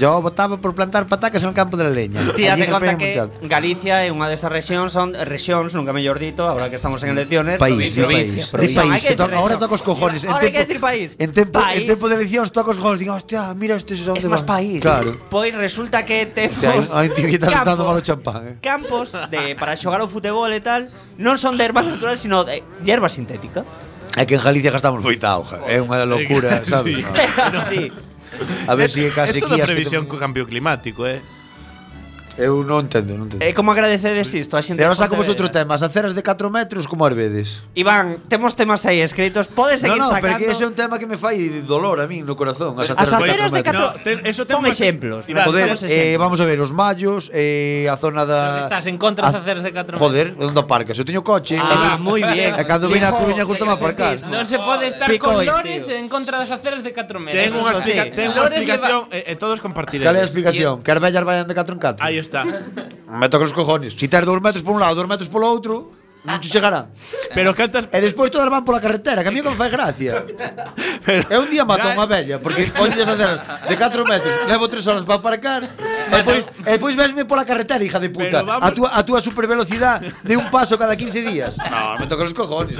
S8: yo votaba por plantar patacas en el campo de la leña.
S3: Ti date
S8: Allí no
S3: conta
S8: pegan
S3: que
S8: mucho.
S3: Galicia é unha desas rexións, son rexións, nunca mellor dito, agora que estamos en elecciones,
S8: País, de
S3: provincia,
S8: país, de país, que to- ahora toca os cojones. En
S3: Ahora hai que decir
S8: tempo-
S3: país.
S8: En tempo,
S3: País.
S8: en tempo de eleccións toca os cojones. Digo, hostia, mira este es onde
S3: Es más
S8: van.
S3: país.
S8: Claro.
S3: Pois resulta que temos
S8: Hostia, hai- hai un tío que está
S3: campos,
S8: sentando malo champán. eh.
S3: campos de para xogar ao futebol e tal, non son de ervas naturais, sino de hierba sintética.
S8: É que en Galicia gastamos moita auga. É unha locura, sabes? No.
S3: sí.
S8: A ver
S2: É
S8: si é case
S2: toda
S8: que
S2: previsión co cambio climático, eh.
S8: Eu non entendo, non entendo.
S3: É como agradecedes isto a xente. eh, de
S8: E agora sacamos
S3: Pontevedra.
S8: outro tema. As aceras de 4 metros, como as vedes?
S3: Iván, temos temas aí escritos, podes seguir
S8: no, no,
S3: sacando.
S8: pero que ese é un tema que me fai dolor a min no corazón. As
S3: As aceras de
S8: metros.
S3: catro...
S2: No, te- eso
S3: Pon exemplos.
S8: Iván, Joder,
S3: Pon
S8: eh,
S3: exemplos.
S8: vamos a ver, os mallos, eh, a zona da...
S10: Pero estás en contra das
S8: a-
S10: aceras de
S8: Ah,
S10: catro
S8: Joder, onde aparcas? Eu teño coche.
S3: Ah, moi bien.
S8: E cando vin a
S3: Hijo,
S8: Coruña costuma aparcar.
S10: Non se pode estar
S3: Pico
S10: con
S3: aí,
S10: lores en contra das aceras de 4 metros.
S2: Ten unha
S10: Eso sí.
S2: explica- ten unha
S10: Lores leva-
S2: explicación e, e todos compartiremos.
S8: Cal é a explicación? Que as vellas vayan de 4 en 4?
S2: Aí está.
S8: Me toca os cojones. Si tes 2 metros por un lado, 2 metros polo outro, non te chegará.
S2: Pero cantas
S8: E despois todas van pola carretera, que a mí que me fai gracia. Pero, e un día mato a unha vella, porque poñes as aceras de 4 metros, levo 3 horas para aparcar, e depois, e depois vesme pola carretera, hija de puta,
S2: Pero vamos-
S8: a túa, a túa supervelocidade de un paso cada 15 días. No, me toca os cojones.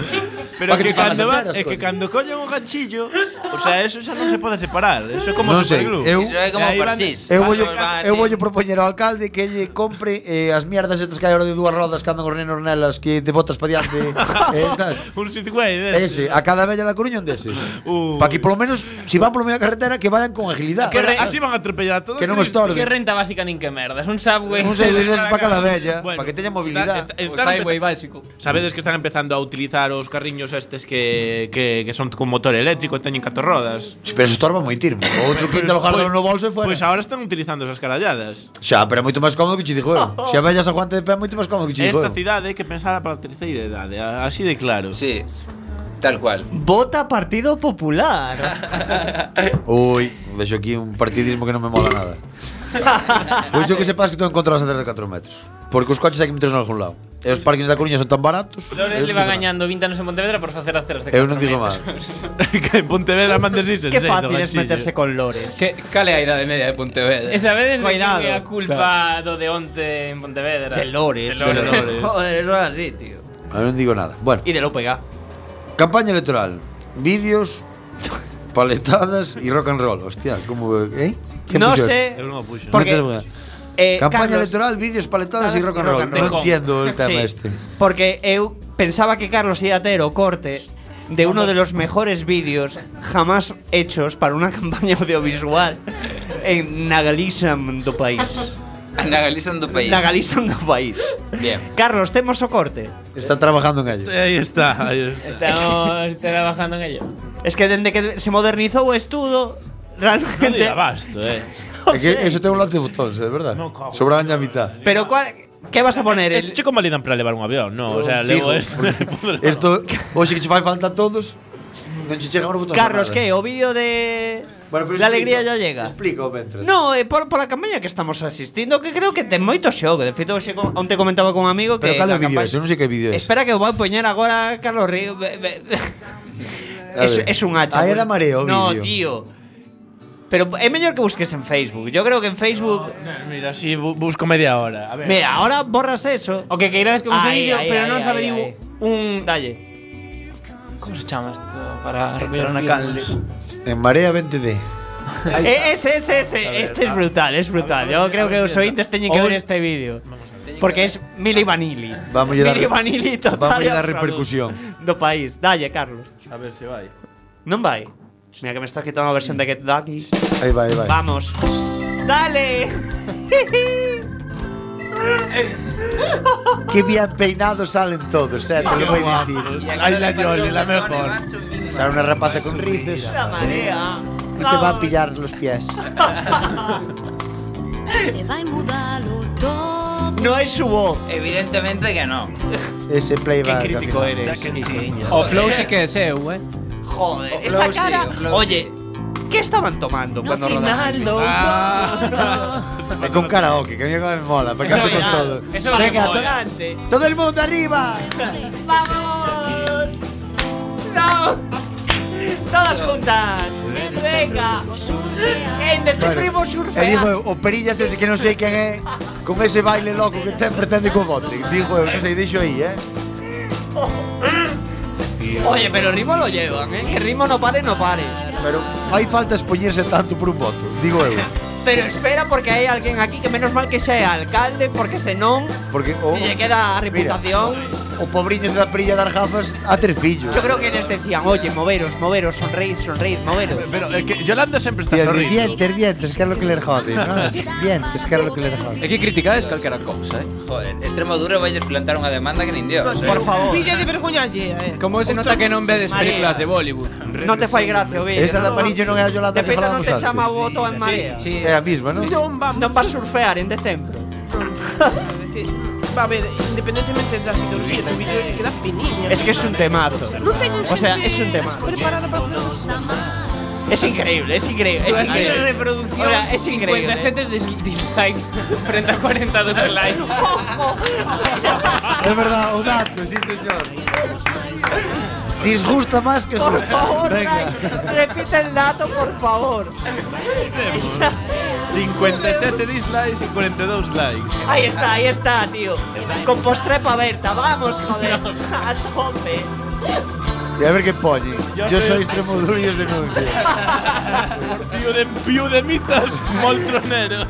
S2: Pero
S8: Pa
S2: que,
S8: che fan as
S2: cando van,
S8: aceras,
S2: é que
S8: coño.
S2: cando collen un ganchillo, o sea, eso xa non se pode separar. Eso é como
S8: Non sei,
S2: superglue.
S8: eu-
S13: Iso é como
S2: E aí van-
S13: parchís.
S8: Eu
S13: Van-
S8: voglio,
S13: van
S8: eu
S13: así.
S8: voglio propoñer ao alcalde que lle compre eh, as mierdas estas que hai ahora de dúas rodas que andan os nenos nelas que te botas para diante. eh, tas.
S2: Un Segway de
S8: Ese, a cada vella da Coruña un deses.
S2: Ui.
S8: Para que polo menos, si van polo medio da carretera, que vayan con agilidade.
S2: Pero así van a atropellar a todos.
S8: Que non estorbe.
S10: Que renta básica nin que merdas. Un subway.
S8: Un subway deses pa cada vella,
S2: Bueno,
S8: pa que teña mobilidade.
S2: está- está-
S4: O
S2: están
S4: highway básico.
S2: Sabedes que están empezando a utilizar os carriños estes que, que, que son con motor eléctrico e teñen catro rodas. Pues,
S8: Pero se estorba moitirmo. O outro quinta o jardón no bolso e fuera.
S2: Pois agora están utilizando esas caralladas.
S8: Xa, pero é moito máis cómodo que che dixo eu. Se a vella se aguante de pé, é moito máis cómodo que che dixo
S2: Esta
S8: eu.
S2: cidade hai que pensar para a terceira idade, a- así de claro.
S13: Sí, tal cual.
S3: Vota Partido Popular.
S8: Ui, vexo aquí un partidismo que non me mola nada. Pois eu que sepas que estou en contra das aceras de 4 metros. Porque os coches hai que meterse en algún lado. E os parkings da Coruña son tan baratos.
S10: Lores
S8: eu
S10: leva
S8: non digo
S10: gañando 20 anos en Pontevedra por facer aceras de
S8: nada. Eu
S10: 4
S8: non digo máis.
S2: que en Pontevedra mandes isen
S3: Qué fácil es meterse con lores.
S4: Que cale a idade media de Pontevedra?
S10: Esa vez
S3: Cuidado.
S10: é a culpa do de onte en Pontevedra.
S3: De lores.
S10: De lores.
S3: Joder, eso es así, tío.
S8: Eu non digo nada. Bueno,
S3: Y de lo pega.
S8: campaña electoral. Vídeos, paletadas e rock and roll. Hostia, como... Eh? ¿Quién
S3: No
S8: puxo eso?
S3: sé.
S2: Eu non o puxo.
S3: Porque,
S8: Non te-
S3: eh,
S8: Campaña
S3: Carlos,
S8: electoral, vídeos paletadas y
S3: Paletadas
S8: rock
S3: y
S8: and
S3: rock
S8: roll.
S3: and
S8: No
S3: roll.
S8: entiendo el tema
S3: Sí,
S8: este.
S3: Porque eu pensaba que Carlos iba a tener o corte de uno de los mejores vídeos jamás hechos para una campaña audiovisual en Nagaliza do país.
S13: Analizando o país.
S3: Nagaliza do país.
S13: Bien.
S3: Carlos, temos o corte.
S8: Están trabajando en ello.
S2: Aí está, aí está.
S10: Estamos trabajando en ello.
S3: Es que dende que se modernizou o estudo,
S2: Non
S3: realmente
S2: dida basto, eh.
S3: non
S8: Es que
S3: sei.
S8: eso tengo un lanzabotones, es verdad.
S2: No, cago.
S8: Sobraban ya mitad.
S3: Pero cuál ¿Qué vas a poner?
S2: Este
S3: El,
S2: chico validan para levar un avión, no, o sea,
S8: Fijo,
S2: levo esto.
S8: porque Esto, oye, que se va a faltar todos. No chichega un botón.
S3: Carlos, ¿qué? ¿O vídeo de La alegría ya
S13: Este
S3: llega?
S8: Explico, mientras.
S3: No, eh, por, por a campaña que estamos asistindo Que creo que ten moito xogo De feito, hoxe co- onte comentaba con un amigo que
S8: Pero cal é
S3: na
S8: o vídeo
S3: campaña-
S8: ese? Eu non sei que vídeo é ese.
S3: Espera que o vai poñer agora Carlos Río be- be-
S8: A
S3: es,
S8: ver.
S3: es un hacha
S8: Aí
S3: pues.
S8: era mareo o
S3: No,
S8: vídeo.
S3: tío Pero é mellor que busques en Facebook. Yo creo que en Facebook
S2: Mira, si busco media hora. A ver.
S3: Mira, ahora borras eso.
S10: O que queirades que conseguillo, pero non averiguo
S3: un dalle.
S10: Como se chama isto para recuperar
S8: Vertidos.
S10: unha calma?
S8: En Marea 20D.
S3: Eh, Ese, ese, ese. este es brutal, es brutal. Yo creo que los ointes teñen que
S8: Os-
S3: ver este vídeo. Porque es Mili Vanilli.
S8: Vamos a dar,
S3: Mili Vanilli total.
S8: vamos a dar
S3: e absoluto
S8: repercusión.
S3: Do país. Dalle, Carlos.
S2: A ver se vai.
S3: Non vai. Mira que me estás quitando a versión de Get Lucky.
S8: Ahí va, ahí va.
S3: Vamos. Dale.
S8: Qué bien peinados salen todos, eh, te lo voy a decir. Ay, la Yoli, la mejor. Será una rapaza con rizos.
S3: La marea.
S8: Y te va a pillar los pies.
S5: Te va a mudar todo.
S3: No es su voz. Eh,
S13: Evidentemente que no.
S8: Ese playback.
S3: Qué crítico
S8: al final.
S3: eres.
S4: O Flow sí que é seu, eh?
S3: Joder,
S4: O
S3: esa
S4: Flow sí,
S3: cara.
S4: o Flow
S3: Oye, ¿qué estaban tomando cuando rodaban?
S8: Eh, Con karaoke, que a mí me mola, me canto con todo.
S3: Eso es
S8: Venga,
S3: adelante.
S8: to- todo el mundo arriba.
S3: ¡Vamos! ¡No! ¡Todas juntas! ¡Venga!
S8: Bueno,
S3: ¡Indecifrimos
S8: e
S3: surfear!
S8: dijo eu, o perillas ese que non sei quen é Con ese baile loco que ten pretende co bote Dijo eu, non sei, deixo aí, eh
S3: Oye, pero el ritmo lo llevan, ¿eh? Que el ritmo no pare, no pare.
S8: Pero fai falta expoñerse tanto por un voto Digo eu
S3: Pero espera porque hay alguien aquí que menos mal que sea alcalde porque se non
S8: Porque o,
S3: lle queda a
S8: Oh. mira,
S3: reputación.
S8: o pobriños da perilla dar gafas a tres fillos
S3: Yo creo que les decían, oye, moveros, moveros, sonreíd, sonreíd, moveros.
S2: Pero es que Yolanda siempre está
S8: Tía, di
S2: sonriendo.
S8: dientes, dientes, que es lo que le jode, ¿no? Dientes, que es lo que le jode.
S4: É que criticades calquera cousa, eh?
S13: Joder, Extremoduro vai plantar unha demanda que nin Dios. eh.
S9: Pilla de vergoña allí, eh.
S4: Como se nota que non vedes películas
S9: Marea.
S4: de Bollywood?
S3: No te fai gracia, ovello.
S8: Esa da Parillo non é a Yolanda
S3: De feito
S8: que
S3: non
S8: falábamos
S3: te
S8: antes.
S3: chama o voto en marea.
S8: Sí. É a mesma, non?
S3: Non va, non va a surfear en decembro.
S9: Va a ver, independientemente de la ideología, el vídeo este que da piniña.
S3: Es que es un temazo.
S9: No tengo
S3: O sea,
S9: gente
S3: es un tema.
S9: Preparada para hacer esas cosas.
S3: Es increíble, es increíble, es
S10: Es que
S3: increíble. O
S10: reproducción.
S3: sea, es increíble.
S10: 57 dis- dislikes frente a 42 likes.
S8: Es verdad, un dato, sí señor. Disgusta más que
S3: Por
S8: gusta.
S3: favor,
S8: Venga.
S3: Ray, repite el dato, por favor.
S2: 57 dislikes e 42 likes.
S3: Ahí está, ahí está, tío. Con postrepa Berta, vamos, joder. A tope.
S8: Y a ver qué ponen. Yo,
S3: Yo
S8: soy
S3: soy-
S8: extremo duro y os denuncio.
S2: Pío de, pío de mitas moltronero.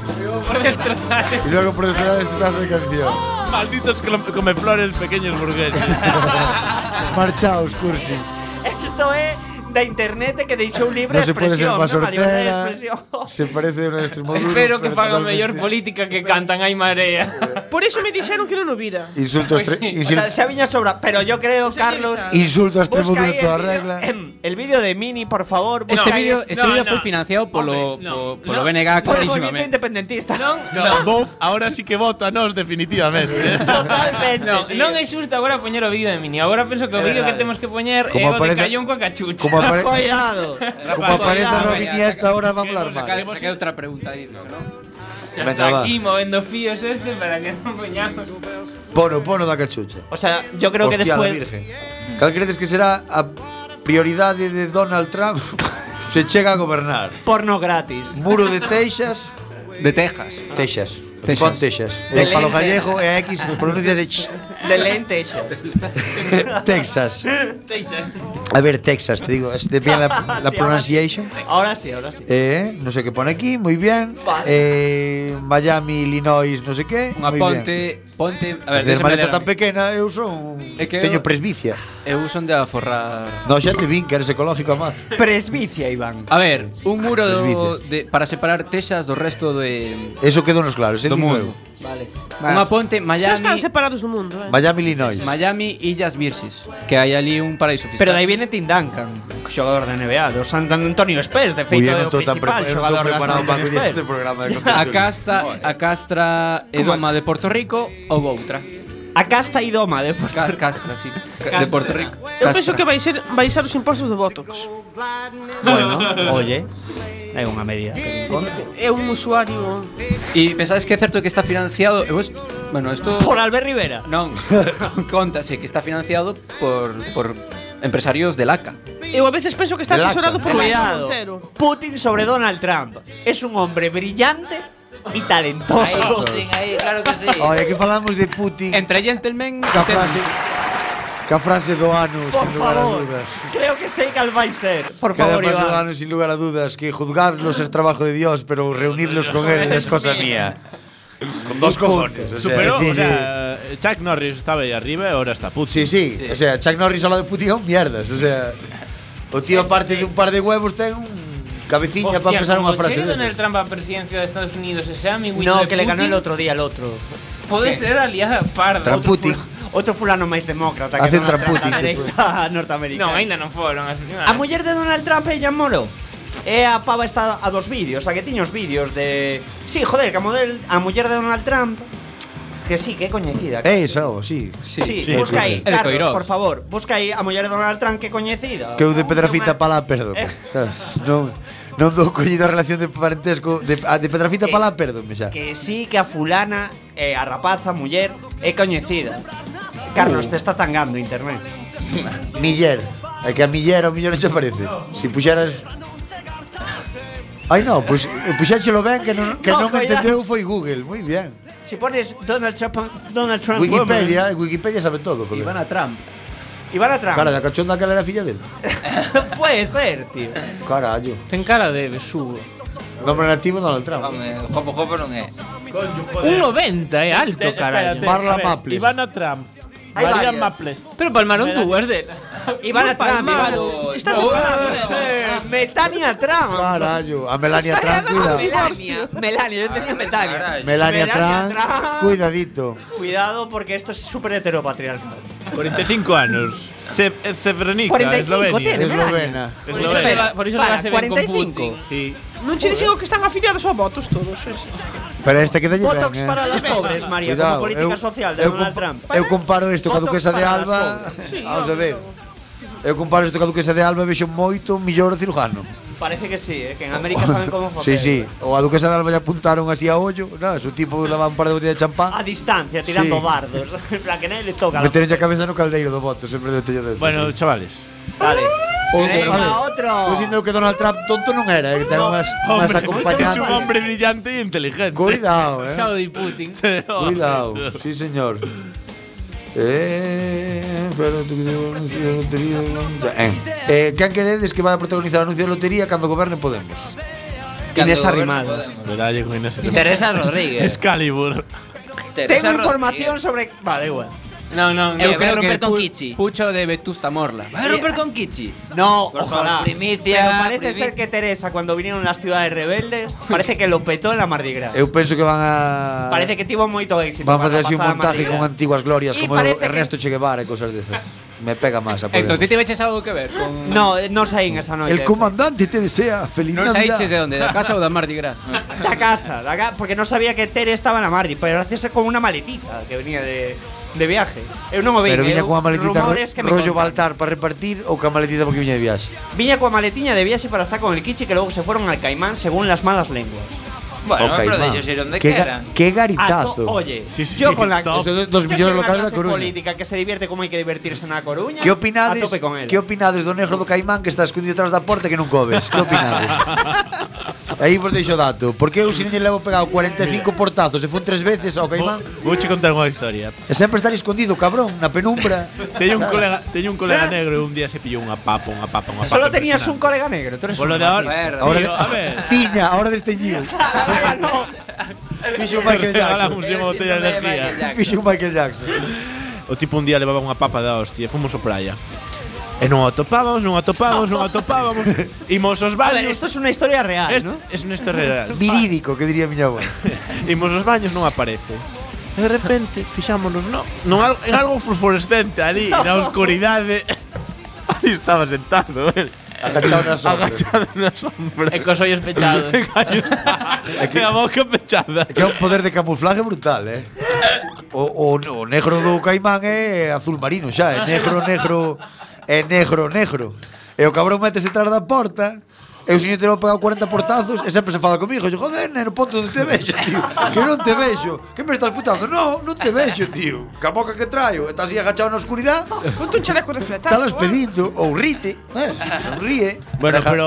S10: Por destrozar.
S8: y luego por desgracia este pedazo de canción.
S2: Malditos clom- comeflores pequeños burgueses.
S8: Marchaos, cursi.
S3: Esto es de internet que deixou libre
S8: No se puede ser
S3: expresión,
S8: más
S3: non? A libre de
S8: sortera.
S3: expresión.
S8: Se parece a una de extremo duro.
S10: Espero que
S8: pero
S10: faga
S8: totalmente-
S10: mellor política que cantan Ai Marea. Pues
S9: Por eso me dijeron que no lo hubiera.
S8: Insultos tre-
S3: O
S8: insil-
S3: sea, se viña sobra, pero yo creo, Carlos.
S8: Insulto a extremo
S3: busca
S8: duro
S3: ahí
S8: en toda
S3: el vídeo-
S8: regla.
S3: El vídeo de Mini, por favor.
S4: Este
S3: busca ahí
S4: vídeo
S3: ese-
S4: este vídeo foi financiado polo po- polo BNG
S3: Por el movimiento
S4: clarísimamente.
S3: independentista.
S2: No, Bof, ahora sí que voto a nos definitivamente.
S3: Totalmente.
S10: No, non é xusto agora poñer o vídeo de Mini. Agora penso que
S2: É
S10: o vídeo que
S2: verdade.
S10: temos que poñer é
S8: Como
S10: o de
S8: aparece-
S10: Callón coa cachucha.
S8: como apare-
S3: Cuidado.
S8: Como aparece
S3: Cuidado.
S8: Robin y hasta ahora va a hablar mal.
S4: Saquei outra pregunta aí, non?
S10: Ya
S8: Venga,
S10: está
S8: va.
S10: aquí movendo fíos este para que non poñamos.
S8: Pono, pono da cachucha.
S3: O sea, yo creo que
S8: Hostia, la
S3: después.
S8: Virgen. Cal credes que será a prioridade de Donald Trump se chega a gobernar?
S3: Porno gratis.
S8: Muro de Texas.
S4: De Texas.
S8: Texas.
S4: Texas.
S8: Pon Texas.
S3: De
S8: Eh, para o
S3: lente.
S8: gallego é X, pronuncias X.
S3: De lentes.
S8: Texas.
S10: Texas.
S8: A ver, Texas, te digo, este bien la, la
S3: Sí,
S8: pronunciation.
S3: Ahora sí, ahora sí.
S8: Eh, no sé qué pone aquí, muy bien. Eh, Miami, Illinois, no sé qué.
S4: Unha
S8: muy bien.
S4: ponte, ponte, a ver,
S8: Hacer
S4: déxame
S8: maleta
S4: ler. a
S8: tan
S4: mí.
S8: pequena, eu son
S4: É que
S8: teño
S4: eu-
S8: presbicia.
S4: Eu son de aforrar.
S8: No, xa te vin que eres ecológico, amar.
S3: Presbicia, Iván.
S8: Ah.
S4: A ver, un muro do,
S8: Servicio.
S4: de, para separar Texas do resto de
S8: Eso quedou nos claros, é
S4: do mundo.
S8: nuevo.
S3: Vale.
S4: Unha ponte
S9: Ya están
S4: Miami,
S9: separados del mundo, eh.
S8: Miami, Illinois.
S4: Miami Illas Virxes, que hai ali un paraíso fiscal.
S3: Pero de ahí viene Tim Duncan, xogador da NBA, do San Antonio Spurs, de feito,
S8: Ui, eu
S3: é
S8: non
S3: o
S8: estou tan
S3: principal
S8: prepa- eu non
S3: xogador da
S8: estou
S3: San
S8: preparado para
S3: Antonio
S8: acudir a
S3: Spurs.
S8: este programa de
S4: A
S8: concepciones.
S4: casta, a castra e doma de Porto Rico ou outra.
S3: A casta idoma de Porto
S4: Ca- Castra, sí. Ca- De Porto Rico.
S9: Yo pienso
S4: Castra.
S9: que vais a ser, vais a los impuestos de Botox.
S3: Bueno, oye, é unha medida. que non conta.
S9: Es un usuario.
S4: E pensades que é certo que está financiado, eu es- bueno, isto
S3: Por Albert Rivera.
S4: non contase que está financiado por por empresarios de LACA.
S9: Eu a veces penso que está
S3: Laca.
S9: asesorado por Laca
S3: Cuidado.
S9: Montero.
S3: Putin sobre Donald Trump. Es un hombre brillante y talentoso.
S13: Ahí, Putin, ahí, claro que sí.
S8: Oye, aquí falamos de Putin.
S4: Ah. Entre gentlemen,
S8: ca frase, ca frase do ano, sin lugar a
S3: favor.
S8: dudas.
S3: Creo que sei cal vai ser. Por
S8: Cada
S3: favor,
S8: paso
S3: Iván.
S8: gano, sin lugar a dudas, que juzgarlos es trabajo de Dios, pero reunirlos con él es cosa mía.
S2: Con dos cojones.
S8: o sea,
S2: Superó,
S8: decir,
S2: o sea, Chuck Norris estaba ahí arriba y ahora está Putin.
S8: Sí, sí, O sea, Chuck Norris habla de putión, mierdas. O sea, o tío, aparte de un par de huevos, ten un cabeciña para empezar una frase
S10: en
S8: de
S10: el Trump a presidencia de Estados Unidos ese amigo
S3: No,
S10: de
S3: que le ganó
S10: Putin,
S3: el otro día al otro.
S10: Pode
S3: ¿Qué?
S10: ser aliada parda.
S3: Outro fula- Outro fulano máis demócrata que
S8: Hacen
S3: Donald Trump da
S8: Trump Putin,
S3: derecha norteamericana.
S10: Non, aínda non foron as
S3: A muller de Donald Trump é Jan Molo. E a pava está a dos vídeos, a que tiña os vídeos de... Sí, joder, que a, model, a muller de Donald Trump Que sí, que é coñecida
S9: Eh,
S8: É esa, o sí.
S3: Sí, busca aí,
S8: El
S3: Carlos,
S8: Coirós.
S3: por favor Busca aí a muller de Donald Trump que é coñecida
S8: Que eu de Pedrafita para lá, perdón. Non, non Eh. dou collido a relación de parentesco de, a de Pedrafita para lá, perdón, xa.
S3: Que sí, que a fulana, eh, a rapaza, muller É coñecida Carlos, te está tangando internet
S8: Miller. É que a Miller ao millón non che parece. Si puxeras Ai non, pois puxáchelo ben que non que
S3: No,
S8: non me
S3: coidado.
S8: entendeu foi Google, moi bien.
S3: Si pones Donald Trump, Donald Trump
S8: Wikipedia, eh, Wikipedia sabe todo, joder.
S3: Ivana Trump Ivana Trump
S8: Cara, da cachonda aquela era filla dele.
S3: Puede ser, tío
S8: Carallo.
S10: Ten cara de besugo.
S8: Nombre nativo Donald Trump.
S13: Home, Jopo Jopo non é.
S10: Un 90, é alto,
S2: Espérate,
S10: carallo.
S2: Marla a ver, Maples.
S10: Ivana Trump.
S2: Hay María varias. Maples.
S10: Pero palmaron dúas dela.
S3: Ivana
S10: Por
S3: Trump,
S10: palmar.
S3: Ivana-
S10: Estás
S3: No,
S10: separado.
S3: eh, Metania Trump.
S8: Carallo, a Melania Trump, cuidado.
S3: Melania, Melania, yo tenía Melania.
S8: Melania Trump, cuidadito.
S3: Cuidado porque esto es súper heteropatriarcal.
S2: 45 anos. Se, eh, Srebrenica,
S3: 45
S2: Eslovenia.
S3: tiene,
S8: Eslovena.
S2: Eslovenia.
S10: Por iso leva- por iso
S3: Para,
S10: leva se ven con
S3: 45.
S10: Putin.
S2: Sí.
S9: Non che dixen que están afiliados a votos todos.
S8: Pero este queda ben,
S9: Botox
S8: eh.
S9: para las
S3: pobres, María, como política social de Donald Trump.
S8: Eu comparo isto ca
S3: Botox
S8: duquesa de
S3: para las
S8: Alba.
S3: pobres. Sí,
S8: Vamos a
S3: vamos,
S8: ver. Eu comparo isto ca duquesa de Alba e vexo moito mellor cirujano.
S3: Parece que sí, eh, que en América saben cómo joder.
S8: Sí, sí. O a duquesa de Alba lle apuntaron así a ollo, nada, su tipo levaba un par de botellas de champán.
S3: A distancia, tirando
S8: Sí.
S3: dardos. En plan, que nadie le toca. la-
S8: Meteronlle a cabeza no caldeiro do voto, sempre do tello dentro.
S2: Bueno, chavales.
S3: Vale.
S8: O,
S2: Venga,
S3: outro.
S8: Dicindo que Donald Trump tonto non era, eh, que ten unhas, unhas
S2: Hombre, es un
S8: acompañantes.
S2: hombre brillante y inteligente.
S8: Cuidado, eh.
S10: Saudi Putin.
S8: Cuidado, sí señor. Eh, pero tú que digo, anuncio de lotería. Eh, eh, quen queredes que vai a protagonizar o anuncio de lotería cando goberne Podemos?
S3: Inés Arrimadas.
S2: Veralle con Inés Arrimadas.
S13: Teresa Rodríguez.
S2: Excalibur.
S3: Tengo información sobre. Vale, igual.
S10: No, no,
S13: Eu quero Eh, romper con
S4: pu-
S13: Kichi.
S4: Pucho de Vetusta Morla.
S13: Vai a romper con Kichi.
S3: No,
S13: Por favor,
S3: ojalá.
S13: primicia,
S3: Pero parece
S13: primicia.
S3: ser que Teresa, cuando vinieron las ciudades rebeldes, parece que lo petó en la Mardi Gras.
S8: Eu penso que van a
S3: Parece que tivo moito éxito.
S8: van Eh, a
S3: para
S8: facer así un
S3: pasada
S8: montaje
S3: Mardi
S8: con
S3: Gras.
S8: antiguas glorias
S3: Y
S8: como
S3: parece que-
S8: Ernesto Che Guevara e cosas desas. Me pega más a
S4: Entón,
S8: Podemos.
S4: ti te veches algo que ver con...
S3: No, non saín esa noite.
S8: El comandante te desea feliz
S4: Non
S8: Navidad.
S4: saíches de onde, da casa ou da Mardi Gras?
S3: Da casa, da ca- porque no sabía que Tere estaba na Mardi, pero gracias con una maletita que venía de, de viaje. Eh, Eu non o vin,
S8: Pero
S3: eu-
S8: viña cunha maletita ro
S3: rumores que me
S8: rollo
S3: contan.
S8: Baltar para repartir ou ca maletita porque viña de viaxe.
S3: Viña coa maletiña de viaxe para estar con el Kichi que logo se fueron al Caimán según las malas lenguas.
S13: Bueno,
S8: Ok,
S13: pero
S8: va.
S13: deixos ir onde
S8: Qué ga-
S13: queran.
S8: qué
S3: A to-
S8: garitazo.
S3: Oye,
S8: Sí, sí,
S3: yo con la
S8: top. Eso de-
S3: yo
S8: dos
S3: soy
S8: millones
S3: una
S8: locales de
S3: clase
S8: La Coruña.
S3: política que se divierte como hay que divertirse en La Coruña.
S8: Que
S3: A
S8: opinades?
S3: tope con él.
S8: Que opinades do negro do caimán que está escondido atrás da porta e que non cobes? Que opinades? Aí vos deixo dato. Porque eu se non lle levo pegado 45 portazos e fun tres veces ao caimán.
S2: Vou che contar unha historia.
S8: E sempre estar escondido, cabrón, na penumbra.
S2: Teño un colega, teño un colega negro e un día se pillou unha papa, unha papa, unha papa.
S3: Solo tenías un
S2: impresionante.
S3: colega negro, tú eres
S2: Polo
S3: un
S2: de ahora,
S3: racista.
S2: ahora tío, a ver.
S8: Ciña, ahora desteñiu. Fixo un Michael Jackson.
S2: Regalamos unha botella de energía.
S8: Fixo un Michael Jackson.
S2: O tipo un día levaba unha papa da hostia e fomos ao praia. E non o atopábamos, non o atopábamos, non o atopábamos. Imos aos
S3: A ver,
S2: baños.
S3: esto es una historia real,
S2: Es-
S3: ¿no?
S2: Es una historia real.
S8: Virídico, que diría miña avó.
S2: Imos aos baños, non aparece. E de repente, fixámonos, non? non al- en algo fosforescente ali, na oscuridade. ali estaba sentado, él.
S8: Agachado na sombra.
S2: Agachado na sombra.
S10: E cos ollos pechados.
S2: E a boca pechada.
S8: Que é un poder de camuflaje brutal, eh. O, o, o negro do caimán é azul marino xa, é negro, negro, é negro, negro. E o cabrón metes detrás da porta E o señor te lo pagado 40 portazos e sempre se fala comigo. E yo, joder, neno, ponte onde te vexo, tío. Que non te vexo. Que me estás putando? No, non te vexo, tío. Que a boca que traio. Estás aí agachado na oscuridad.
S9: Ponte un chaleco eh. reflectante.
S8: Talas pedindo. Ou rite. Eh? Sonríe.
S2: Bueno,
S8: Freja-
S2: pero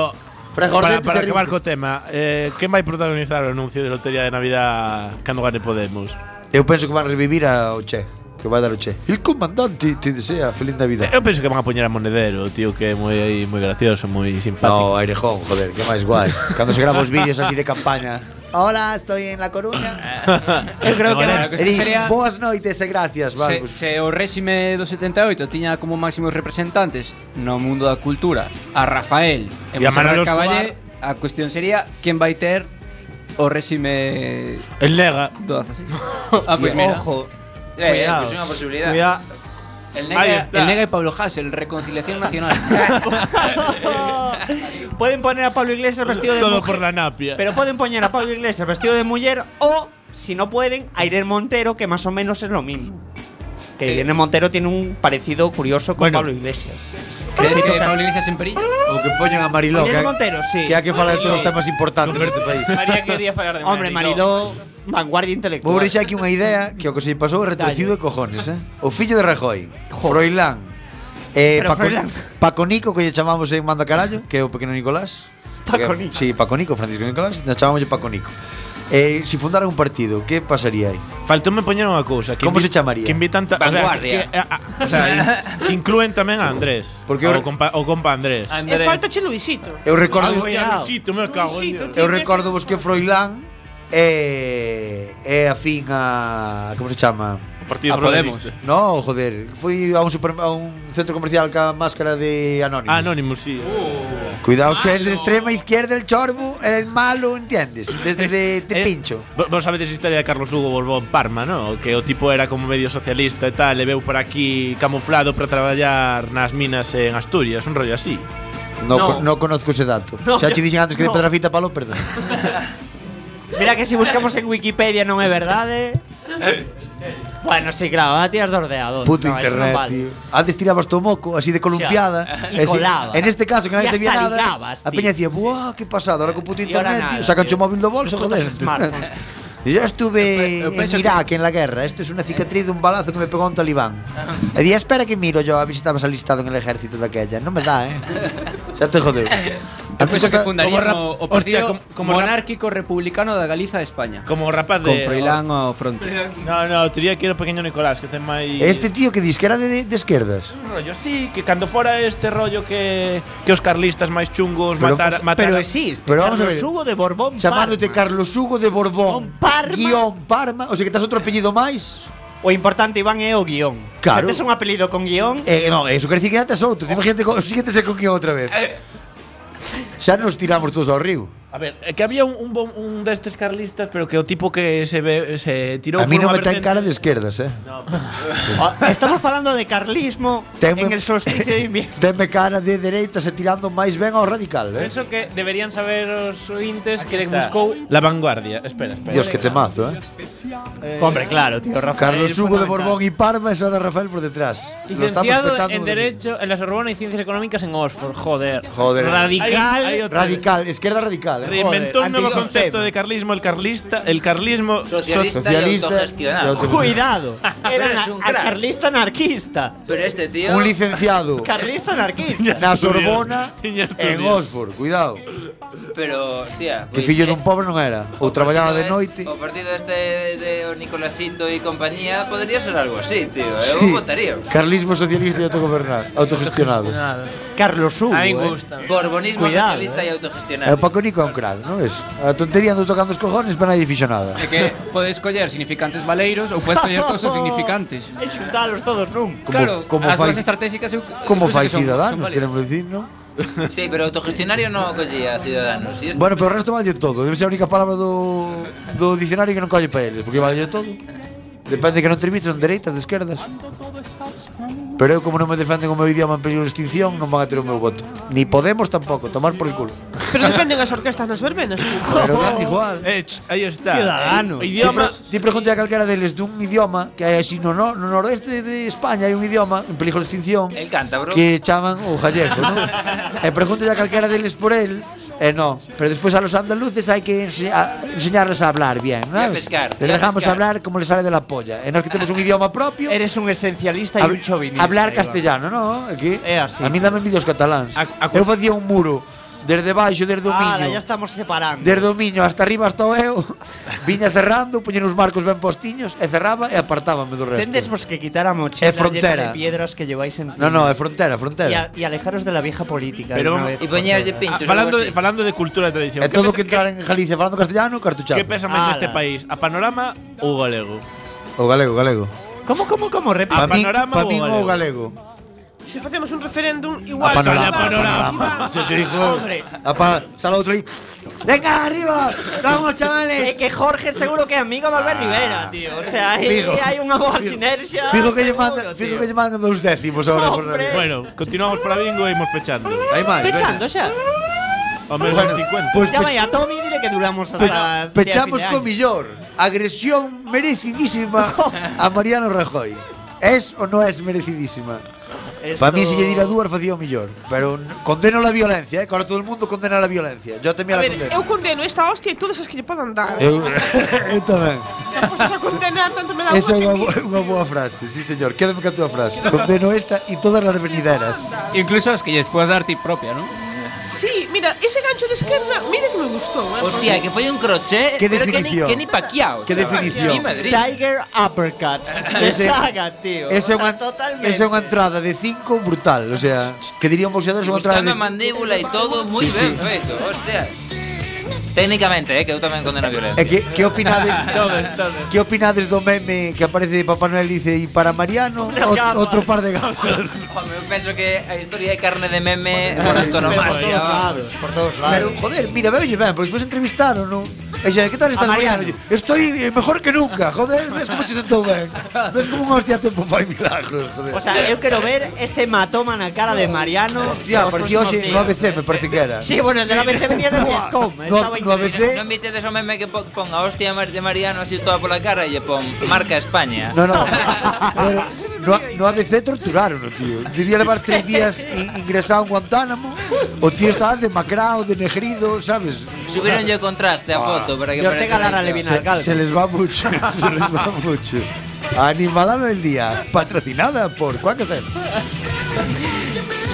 S8: freja os
S2: para,
S8: dentes
S2: para
S8: e
S2: acabar
S8: ríe.
S2: co tema, eh, quen vai protagonizar o anuncio de lotería de Navidad cando gane Podemos?
S8: Eu penso que van revivir a o Che, que vai dar o Che. El comandante te desea feliz Navidad.
S2: Eu penso que van a poñer a Monedero, o tío, que é moi aí moi gracioso, moi simpático.
S8: No, Airejón, joder, que máis guai. Cando se grava os vídeos así de campaña. Hola, estoy en La Coruña. Eu creo que
S4: Bueno,
S8: Eri,
S4: sería-
S8: boas noites e gracias,
S4: Se,
S8: vale.
S4: se o réxime do 78 tiña como máximos representantes no mundo da cultura a Rafael e
S2: E a
S4: Monserrat
S2: Manolo
S4: Caballé, a cuestión sería quen vai ter o réxime
S2: El nega.
S4: do 16. ah, pois mira.
S3: Ojo.
S4: Eh,
S3: Cuidado.
S4: pois é unha posibilidad.
S3: Cuidado.
S4: El
S3: Ahí
S4: nega,
S3: está.
S4: el nega e Pablo Hasél, Reconciliación Nacional.
S3: Pueden poner a Pablo Iglesias vestido de
S2: Todo
S3: mujer.
S2: por la napia.
S3: Pero pueden poner a Pablo Iglesias vestido de mujer o, si no pueden, a Irene Montero, que más o menos es lo mismo.
S2: Eh,
S3: Que Irene Montero tiene un parecido curioso con Pablo Iglesias.
S4: Crees que Pablo Iglesias en perilla?
S8: O que poñan a Mariló,
S3: Irene
S8: que,
S3: Montero, sí.
S8: que hai que falar de todos os
S3: Mariló.
S8: temas importantes neste país.
S10: María quería falar de
S3: Hombre, Mariló, vanguardia intelectual.
S8: Vou deixar aquí unha idea que o que se lle pasou é retorcido de cojones, eh? O fillo de Rajoy, Froilán, eh,
S3: Pero
S8: Paco,
S3: Froilán.
S8: Paco Nico, que lle chamamos en Manda Carallo, que é o pequeno Nicolás. Paco Nico. Sí, Paco Nico, Francisco Nicolás, nos chamamos Paco Nico. Eh, si fundaran un partido, que pasaría aí?
S2: Faltoume poñer unha cousa.
S8: Como se chamaría?
S2: Que invitan ta, O sea,
S8: Vanguardia.
S2: que, a, a, o sea in- inclúen tamén a Andrés.
S8: Porque
S2: Porque
S8: eu-
S2: o, compa, o compa Andrés.
S3: Ah.
S9: E falta che Luisito.
S8: Eu recordo- Ah,
S2: Hostia, Luisito, me cago en
S9: Luisito,
S2: Dios.
S8: Eu recordo vos que Froilán é é afín a como se chama? O
S2: Partido A Podemos. Froilánista.
S8: No, joder, fui a un super, a un centro comercial ca máscara de Anonymous.
S2: Anónimo, sí.
S8: Cuidaos que es de extrema izquierda el chorbo, el malo, ¿entiendes? Desde de, de
S2: Eh,
S8: pincho.
S2: vo- Vos sabedes a historia de Carlos Hugo Borbón Parma, ¿no? Que o tipo era como medio socialista e tal, e veu por aquí camuflado para traballar nas minas en Asturias, un rollo así.
S8: No, co- no conozco ese dato.
S2: No,
S8: Xa
S2: yo-
S8: che dixen antes que
S2: no.
S8: de Pedrafita palo, perdón.
S3: Mira que si buscamos en Wikipedia no es verdad. eh. Bueno, sí, claro, a tías de ordenador.
S8: Puto
S3: No, eso no
S8: internet,
S3: vale.
S8: tío. Antes tirabas tu moco así de columpiada.
S3: Y
S8: Es decir,
S3: colaba.
S8: En este caso, que nadie
S3: Y
S8: te veía
S3: hasta
S8: nada.
S3: ligabas,
S8: a
S3: tío.
S8: peña decía, ¡buah, qué pasado! Ahora con puto
S3: Y ahora
S8: internet,
S3: nada,
S8: tío. Sacan
S3: tío.
S8: su móvil de bolso,
S3: Los putos
S8: joder.
S3: smartphones.
S8: Y Yo estuve
S4: Eh,
S3: Yo pe- yo
S8: en
S3: pienso
S8: Irak, eh, en la guerra. Esto es una cicatriz de un balazo que me pegó un talibán.
S4: Ah.
S8: Le dije, espera que miro yo a ver si estabas alistado en el ejército de aquella. No me da, ¿eh? Ya te jodeo.
S4: Eu penso que fundaría
S8: Como
S4: o,
S8: rap-
S4: o Partido
S8: Hostia, como- como rap-
S4: Monárquico Republicano da Galiza de España.
S2: Como rapaz de
S4: Con Froilán ao fronte.
S2: No, no, diría que era o pequeño Nicolás, que ten máis
S8: Este tío que dice que era de, de izquierdas.
S2: un rollo así, que cando fora este rollo que que os carlistas máis chungos
S8: Pero-
S2: matara, matara
S8: pero existe, Pero vamos a Carlos ver. Hugo
S3: de Borbón
S8: Chamándote Carlos Hugo de Borbón.
S3: Parma.
S8: Guión Parma. O sea, que estás otro apellido más.
S3: O importante, Iván, é o guión.
S8: Claro.
S3: O sea, tes un apelido con guión.
S8: Eh, no, eso quiere decir que antes otro. Imagínate, co- o siguiente se con quién otra vez. Ya nos tiramos todos al río.
S2: A ver, é que había un, un, bom- un destes carlistas, pero que o tipo que se ve, se tirou
S8: A mí
S2: por
S8: no
S2: unha
S8: me traen
S2: vertente-
S8: cara de izquierdas, eh.
S3: Ah, Estamos falando de carlismo
S8: Tenme-
S3: en el solsticio de invierno.
S8: Tenme cara de derecha se tirando más bien ao radical, eh.
S10: Penso que deberían saber os ointes que le
S2: Está.
S10: buscou
S2: La vanguardia, espera, espera.
S8: Dios, que temazo, eh.
S3: Hombre, claro, tío, Rafael
S8: Carlos
S3: es
S8: Hugo de
S3: fundamental.
S8: Borbón y Parma es ahora Rafael por detrás. Lo estamos
S10: Licenciado
S8: petando.
S10: en Derecho en la Sorbona y Ciencias Económicas en Oxford, joder.
S8: Joder.
S10: Radical.
S8: radical, izquierda radical. eh.
S2: Reinventó
S8: Joder,
S2: un nuevo
S8: antisistema.
S2: concepto de carlismo, el carlista, el carlismo
S13: Socialista y Socialista y autogestionado. autogestionado.
S3: Cuidado. Era
S13: Pero es
S3: ana-
S13: un
S3: a-
S13: crack.
S3: carlista anarquista.
S13: Pero este tío.
S8: Un licenciado.
S3: Carlista anarquista.
S8: Na Sorbona en
S13: estudios.
S8: Oxford, cuidado.
S13: Pero, hostia.
S8: Que fillo dun pobre non era, ou traballaba de noite.
S13: O partido este de, de o Nicolasito y compañía podría ser algo así, tío. eh, Eu
S8: Sí.
S13: votaría.
S8: Carlismo socialista e autogobernar, autogestionado. Carlos Hugo.
S13: A mí
S8: eh.
S13: Borbonismo
S8: Cuidado,
S13: socialista y
S8: E
S13: autogestionario.
S8: o Paco Nico eh. é un crack, non es? A tontería ando tocando os cojones para nadie fixo nada.
S4: É que podes coller significantes valeiros ou podes coller todos os significantes.
S3: E xuntalos todos nun.
S8: Como-
S4: Claro,
S8: como
S4: as
S8: fai-
S4: bases estratégicas eu,
S8: Como
S4: eu penso
S8: fai
S4: que son-
S8: Ciudadanos,
S4: son válidas.
S8: queremos dicir, non?
S13: Sí, pero autogestionario no collía a Ciudadanos. Y este-
S8: Bueno, pero o resto vale todo. Debe ser a única palabra do, do dicionario que non colle para eles, porque vale todo. Depende que non te vistas de dereitas, de esquerdas. Pero eu, como non me defenden o meu idioma en peligro de extinción, non van a ter o meu voto. Ni Podemos tampouco, tomar por el culo.
S9: Pero defenden as orquestas nas verbenas.
S8: Pero da igual.
S2: Eh, ch, aí está.
S8: Ciudadanos.
S2: Eh, Idiomas.
S8: Ti, pre- ti pregunta a calquera deles dun idioma que hai así no, no, no noroeste de España hai un idioma en peligro de extinción
S13: El cántabro.
S8: que chaman o gallego, non? e pregunta a calquera deles por el e non. Pero despois a los andaluces hai que ense a, enseñarles a hablar bien,
S3: a
S8: non?
S3: pescar,
S8: Les
S3: e a
S8: dejamos
S3: pescar.
S8: hablar como les sale de la polla. E nós que temos un idioma propio
S3: Eres un esencialista y
S8: Hab-
S3: un chauvinista.
S8: Hablar
S3: Iván.
S8: castellano, ¿no? Aquí.
S3: É así.
S8: A mí dame vídeos cataláns. Eu facía un muro desde baixo, desde o
S3: Ala, ya
S8: miño.
S3: estamos separando.
S8: Desde o miño hasta arriba hasta o eu Viña cerrando, poñen uns marcos ben postiños E cerraba e apartábame do resto
S3: Tendes vos que quitar a mochila
S8: É
S3: llena de
S8: frontera.
S3: piedras que lleváis en
S8: No, no, é frontera, frontera
S3: y, a- y alejaros de la vieja política.
S2: Pero
S3: de una
S2: vamos- Y
S3: vez por
S2: poñeros
S3: todas.
S2: de pinchos, Ah, falando algo de- así. falando de cultura e tradición.
S8: E
S2: Que
S8: todo
S2: pesa-
S8: que entrar en Galicia falando castellano, cartuchazo
S2: Que pesa máis neste este país? A panorama ou o galego?
S8: O galego, galego
S3: Como, como, como? Repite.
S2: A panorama
S8: pa
S2: ou
S8: min
S2: o
S8: o galego
S9: Se facemos un referéndum, igual…
S8: A panorama, a panorama. Yo se
S3: Ah,
S8: dijo… A pa… Sala outro aí Venga, arriba. Vamos, chavales. Ah,
S3: Es que Jorge seguro que es amigo de Albert Rivera, tío. O sea, ahí
S8: Fijo.
S3: hay una boa
S8: Fijo.
S3: sinergia.
S8: Fijo que lle mandan,
S3: seguro,
S8: fijo
S3: tío.
S8: que lle mandan dous décimos ahora por
S3: Hombre.
S2: Bueno, continuamos para bingo e imos pechando.
S8: Hai máis.
S3: Pechando xa.
S2: O menos
S8: Bueno,
S2: 50.
S8: pois
S3: Llama a Tommy y dile que duramos
S8: Pe-
S3: hasta.
S8: pechamos co millor. Agresión merecidísima a Mariano Rajoy. Es o no es merecidísima? Para mí, si lle dira dúas, facía o millor. Pero n- condeno la violencia, eh? que Ahora todo el mundo condena la violencia. Yo tamén a
S9: A
S8: la
S9: ver,
S8: condeno.
S9: eu condeno esta hostia e todas as que lle podan dar.
S8: Eu, eu tamén.
S9: Se apostas a condenar, tanto me da
S8: Esa é
S9: unha
S8: unha,
S9: que…
S8: bo- unha boa frase, sí señor. Quédame ca túa frase. Condeno esta e todas as venideras.
S12: Incluso as que lles puedas dar ti propia, ¿no?
S9: Sí, mira, ese gancho de esquerda, mira que me gustou. Eh,
S13: Hostia, que foi un crochet,
S3: ¿Qué
S13: pero que ni,
S3: definición?
S13: que ni paqueado.
S3: ¿Qué definición?
S13: Ni Madrid.
S3: Tiger Uppercut. De
S8: Ese-
S3: saga, tío.
S8: Esa é unha,
S3: Totalmente.
S8: esa é unha entrada de 5 brutal, o sea, que diría un boxeador é unha entrada
S13: Buscando a
S8: de
S13: mandíbula y todo, muy
S8: Sí,
S13: bien
S8: sí.
S13: feito. Hostias. Técnicamente, eh, que eu tamén condeno a violencia.
S8: E que, que opinades Que opinades do meme que aparece de Papá Noel e dice E para Mariano,
S13: Unas
S8: ot-
S13: gafas".
S8: outro par de gafas
S13: Home, eu penso que a historia é carne de meme pues, por antonomasia. vamos.
S3: por todos
S8: Pero, joder, mira, veulle ben, porque despois entrevistaron, non? E xa, que tal
S3: A
S8: estás, Mariano?
S3: Mariano.
S8: Lle, Estoy eh, mejor que nunca, joder, ves como che sentou ben Ves como unha hostia a tempo fai milagros, joder
S3: O sea, yo quiero ver ese hematoma en la cara de Mariano.
S8: Hostia,
S3: los próximos
S8: apareció hoxe no
S3: días.
S8: ABC, me parece que era
S3: Sí, bueno, de la vez que venía del Vietcong. Estaba increíble.
S13: Non viste de esos memes que po- pon a hostia Mar- de Mariano así toda pola cara e lle pon marca España.
S8: No, no. Pero no, no ABC torturaron, tío. Debía llevar tres días i- ingresado en Guantánamo. O tío estaba demacrado, denegrido, ¿sabes?
S13: Subieron yo contraste a foto para que parezca…
S8: se, se les va mucho, se les va mucho. Animalado del día, patrocinada por Quackafem.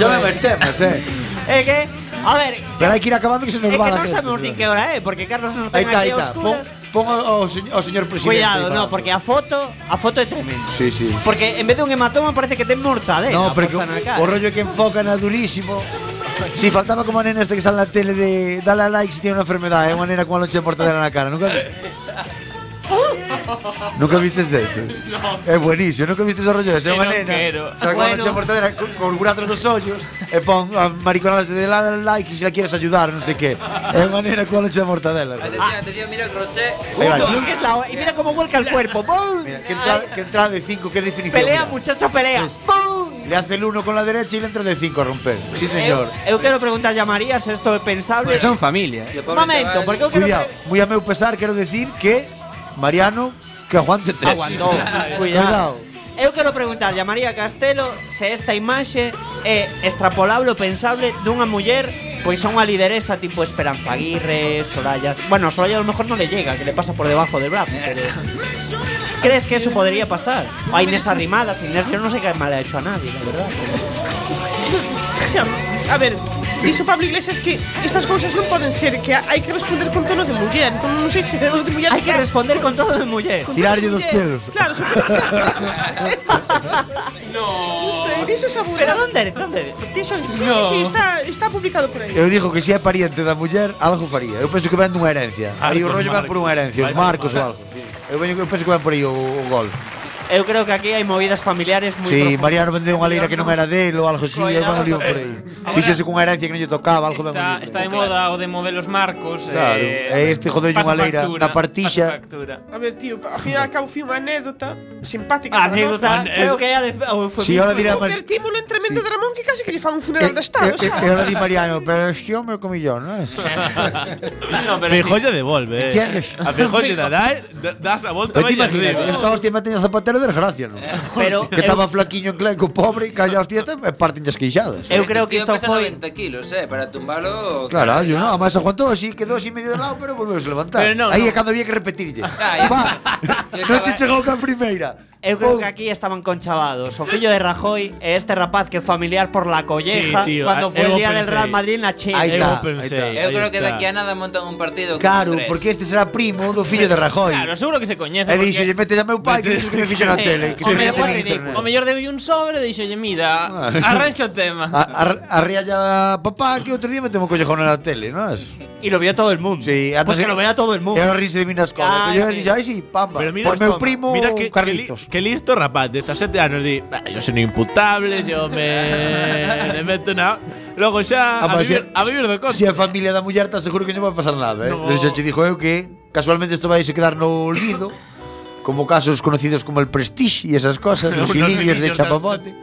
S8: Yo me ves temas, eh.
S3: Es que, a ver,
S8: Pero hay que ir acabando que se nos
S3: es
S8: va
S3: que
S8: la
S3: no
S8: gente,
S3: sabemos ni
S8: tío.
S3: qué hora es, porque Carlos nos
S8: Ahí
S3: tiene
S8: está, ahí
S3: aquí a
S8: está. Pon,
S3: oscuras.
S8: pon ao, señor, ao señor presidente.
S3: Cuidado,
S8: ahí
S3: no,
S8: para.
S3: porque a foto, a foto es tremendo.
S8: Sí, sí.
S3: Porque en vez de un hematoma parece que te mortadela.
S8: No, porque
S3: puesta en la cara.
S8: o rollo que enfocan a durísimo. Si faltaba como a nena este que sale en la tele de dale a like si tiene una enfermedad, ¿eh? una nena con una loncha de mortadela en la cara. ¿Nunca, ¿Nunca viste eso? Es buenísimo, nunca viste ese rollo. Es
S2: Que
S8: una
S2: no
S8: nena.
S2: quiero.
S8: Sale con una loncha de mortadela con, con un burato en los hoyos. E pon a mariconadas de dale a like y si la quieres ayudar, no sé qué. Es una nena con una loncha de mortadela. Eh,
S13: Atención, atención, mira o crochet.
S8: Ahí va.
S3: Es que es la- y mira cómo vuelca el cuerpo. ¡Bum!
S8: Mira, qué entrada, qué entrada de 5, qué definición.
S3: Pelea,
S8: mira.
S3: muchacho, pelea.
S8: Es-
S3: ¡Bum!
S8: Le hace el 1 con la derecha y le entra de 5 a romper. Sí, señor.
S3: Eu, eu quero preguntarlle a María se isto é pensable.
S8: Pues son
S12: familia.
S3: Un momento, porque eu quero
S8: Cuidado, muy a meu pesar, quiero decir que Mariano, que aguante tres.
S3: Aguantou. Cuidado. Eu quero preguntarlle a María Castelo se esta imaxe é extrapolable ou pensable dunha muller pois a unha lideresa tipo Esperanza Aguirre, Soraya... Bueno, a Soraya a lo mejor non le llega, que le pasa por debajo del brazo, pero... ¿Crees que eso podría pasar? O a Inés Arrimadas, Inés, yo no sé qué mal ha hecho a nadie, la verdad.
S9: Xa, a ver, dixo Pablo Iglesias que estas cousas non poden ser, que hai que responder con tono de muller. Entón non sei se o de muller
S3: Hai que responder con tono de muller.
S9: Con tono de
S8: Tirarlle dos
S9: muller.
S8: pelos.
S9: Claro, sobre Non sei, dixo esa burra.
S3: Pero onde, onde? Dixo,
S9: sí, sí, sí, está, está publicado por aí.
S8: Eu digo que si é pariente da muller, algo faría. Eu penso que ven dunha herencia. Aí o
S2: Marcos,
S8: rollo ven por unha herencia, os
S2: Marcos.
S8: marcos ou algo. Eu, veño, eu penso que ven por aí o, o gol.
S3: Eu creo que aquí hai movidas familiares moi
S8: Sí,
S3: profundas.
S8: Mariano vendeu unha leira que non era dele ou algo así, e van lío por aí. Fíxose cunha herencia que non lle tocaba, algo ben
S10: Está, está de moda o de mover los marcos. eh,
S8: Claro, e este jodeu
S10: pasa
S8: unha leira
S10: factura,
S8: na partixa.
S10: pasa factura.
S9: A ver, tío, ao fin e ao cabo fui unha anécdota simpática.
S3: A
S9: para
S3: Ah,
S9: nós.
S3: anécdota, creo que é a de oh,
S8: Sí, ahora dirá Mar-
S9: Convertímolo en tremendo dramón que casi que lle fan un
S3: Eh,
S9: funeral de estado,
S8: E
S9: sabes?
S8: ahora di Mariano, pero este home o comillón, non é?
S10: No, pero
S2: Feijóo
S10: sí.
S2: lle devolve. eh.
S8: Entiendes?
S2: A Feijóo lle dá, dá- das a volta
S8: Pero
S2: vai
S8: te imaginas, ¿eh?
S2: arriba.
S8: esta hostia me teña zapatero de desgracia, non?
S3: Pero
S8: que estaba flaquiño en clenco, pobre, e calla hostia, esta me parten das queixadas.
S13: Este tío pesa 90 kilos, eh, para tumbalo…
S8: Carallo, non, además aguantou así, quedou así medio de lado, pero volveuse a levantar.
S13: Pero non,
S8: aí
S13: non.
S8: é cando había que repetirlle.
S3: Non
S8: che chegou ca primeira.
S3: Eu creo que aquí estaban conchavados. O fillo de Rajoy e este rapaz que é familiar por la colleja
S13: Sí, tío, a-
S3: cuando fue
S13: eu o
S3: el día del
S13: pensei.
S3: Real Madrid na China.
S8: Ahí está, Eu ahí está.
S13: Eu creo que
S8: está.
S13: daqui a nada montan un partido
S8: Claro,
S13: con tres.
S8: porque este será primo do fillo de Rajoy.
S10: Claro, seguro que se coñece.
S8: E dixo, lle mete a meu pai que dixo que me fixo na
S10: Eh,
S8: tele, que
S10: o
S8: se mete
S10: mellor-
S8: en internet.
S10: O mellor deu un sobre e dixolle, mira, arranxa o tema.
S8: Ah, Arría ya papá que outro día me temo un collejón na tele, non es?
S3: Y lo vio todo el mundo.
S8: Sí, antes
S3: Pues que lo vea todo el mundo.
S8: Era rise de mi na escola.
S3: Ay,
S8: Yo
S3: sí.
S8: dixo, ai si, pamba.
S2: Pero mira,
S8: Por meu primo
S2: mira que, que, li-
S8: Carlitos.
S2: que listo rapaz, de 17 anos di, "Ah, yo soy un imputable, yo me le meto na. Logo xa a,
S8: Ah, pues,
S2: vivir, a vivir do conto.
S8: Si a familia da muller está seguro que non vai pasar nada, eh. Pero xa che dixo eu que casualmente isto vai se quedar no olvido. como casos conocidos como el Prestige y esas cosas, los
S2: Unos
S8: hilillos de
S2: hilillos
S8: chapapote.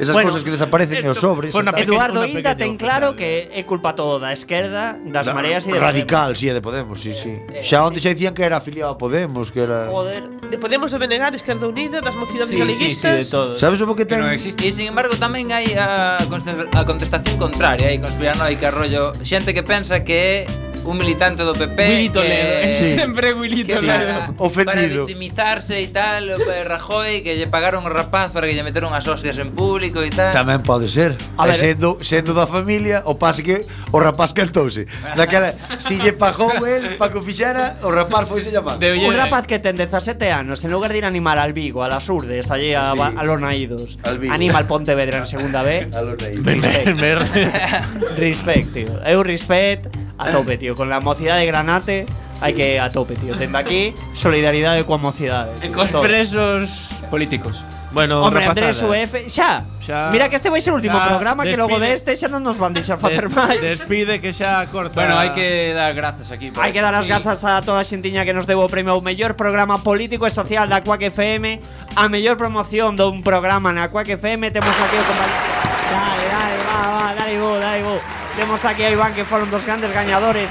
S8: Esas
S3: Bueno,
S8: cosas que desaparecen en los sobres. e tal.
S3: Eduardo Inda ten claro que é culpa todo da esquerda, das
S8: Da-
S3: mareas e de
S8: Radical, sí, é de Podemos, sí, sí.
S13: Eh,
S8: Xa onde xa dicían que era afiliado a Podemos, que era…
S9: Joder.
S3: eh.
S9: De Podemos de Benegar, Esquerda Unida, das mocidades
S13: Sí, sí,
S9: galeguistas.
S8: sí, de todo. Sabes o bo que ten?
S13: No existe. E sin embargo tamén hai a, conste- a contestación contraria, hai conspiranoica rollo, xente que pensa que é un militante do PP
S10: Willy Toledo,
S13: que,
S10: é sempre Willy
S13: eh. que
S10: Toledo.
S13: para- Para victimizarse e tal, o pe- Rajoy que lle pagaron o rapaz para que lle meteron as hostias en público e tal.
S8: Tamén pode ser.
S13: A
S8: A
S13: ver.
S8: sendo, sendo da familia, o pase que o rapaz cantouse. Daquela, si lle pagou el para que o fixera, o rapaz foise llamado.
S3: Un rapaz que ten 17 anos, en lugar de ir a animar al Vigo, a las Urdes, allí a, ba- a los naídos,
S8: Vigo.
S3: anima al Pontevedra en segunda B.
S8: a los naídos.
S3: respect, tío. Eu respect a tope, tío. Con la mocidad de Granate hay que a tope, tío. Tendo aquí solidaridad de coa mocidade. tío.
S10: Cos
S3: Todo.
S10: presos políticos.
S2: Bueno,
S3: Hombre, Andrés UF, xa.
S2: Xa.
S3: Mira que este vai ser o último
S2: Xa,
S3: programa que logo
S2: despide.
S3: deste xa non nos van deixar facer
S2: Des-
S3: máis.
S2: Despide que xa corta.
S4: Bueno, hai que dar grazas aquí. por
S3: Hai que
S4: isto.
S3: dar as
S4: Sí.
S3: grazas a toda a xentiña que nos deu o premio ao mellor programa político e social da Cuac FM, a mellor promoción dun programa na Cuac FM, temos aquí o compañero... Dale, dale, va, va, dale go, dale go. Temos aquí a Iván que foron dos grandes gañadores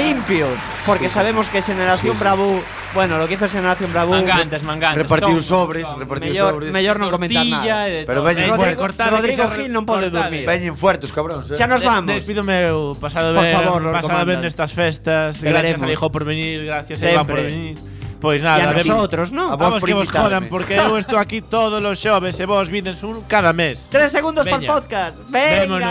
S3: limpios, porque sabemos que Xeneración Bravú, bueno, lo que hizo pues, Xeneración Bravú...
S10: Mangantes, mangantes.
S8: Repartiu sobres, repartiu
S3: mellor,
S8: sobres.
S3: Mellor non comentar
S10: Tortilla
S3: nada.
S10: e de
S8: Pero veñen
S3: Rodrigo,
S8: fuertes.
S3: Rodrigo Gil non pode dormir.
S8: Veñen fuertes, cabróns. eh.
S3: Xa nos vamos.
S2: Despídome eu, pasado
S3: Por
S2: ben,
S3: favor, Lord
S2: pasado ben
S3: Comandante.
S2: destas festas.
S3: Te
S2: gracias a
S3: veremos.
S2: Dijo por venir, gracias a Iván por
S3: Sempre.
S2: venir. Pois nada,
S3: E a
S2: vemos-
S3: nosotros, ¿no?
S2: A
S3: A vos
S2: vos
S3: por
S2: que vos
S3: invitarme.
S2: jodan, porque eu estou aquí todos os xoves e vos vides un cada mes.
S3: Tres segundos para
S2: Veña.
S3: podcast. Venga.
S2: Vémonos.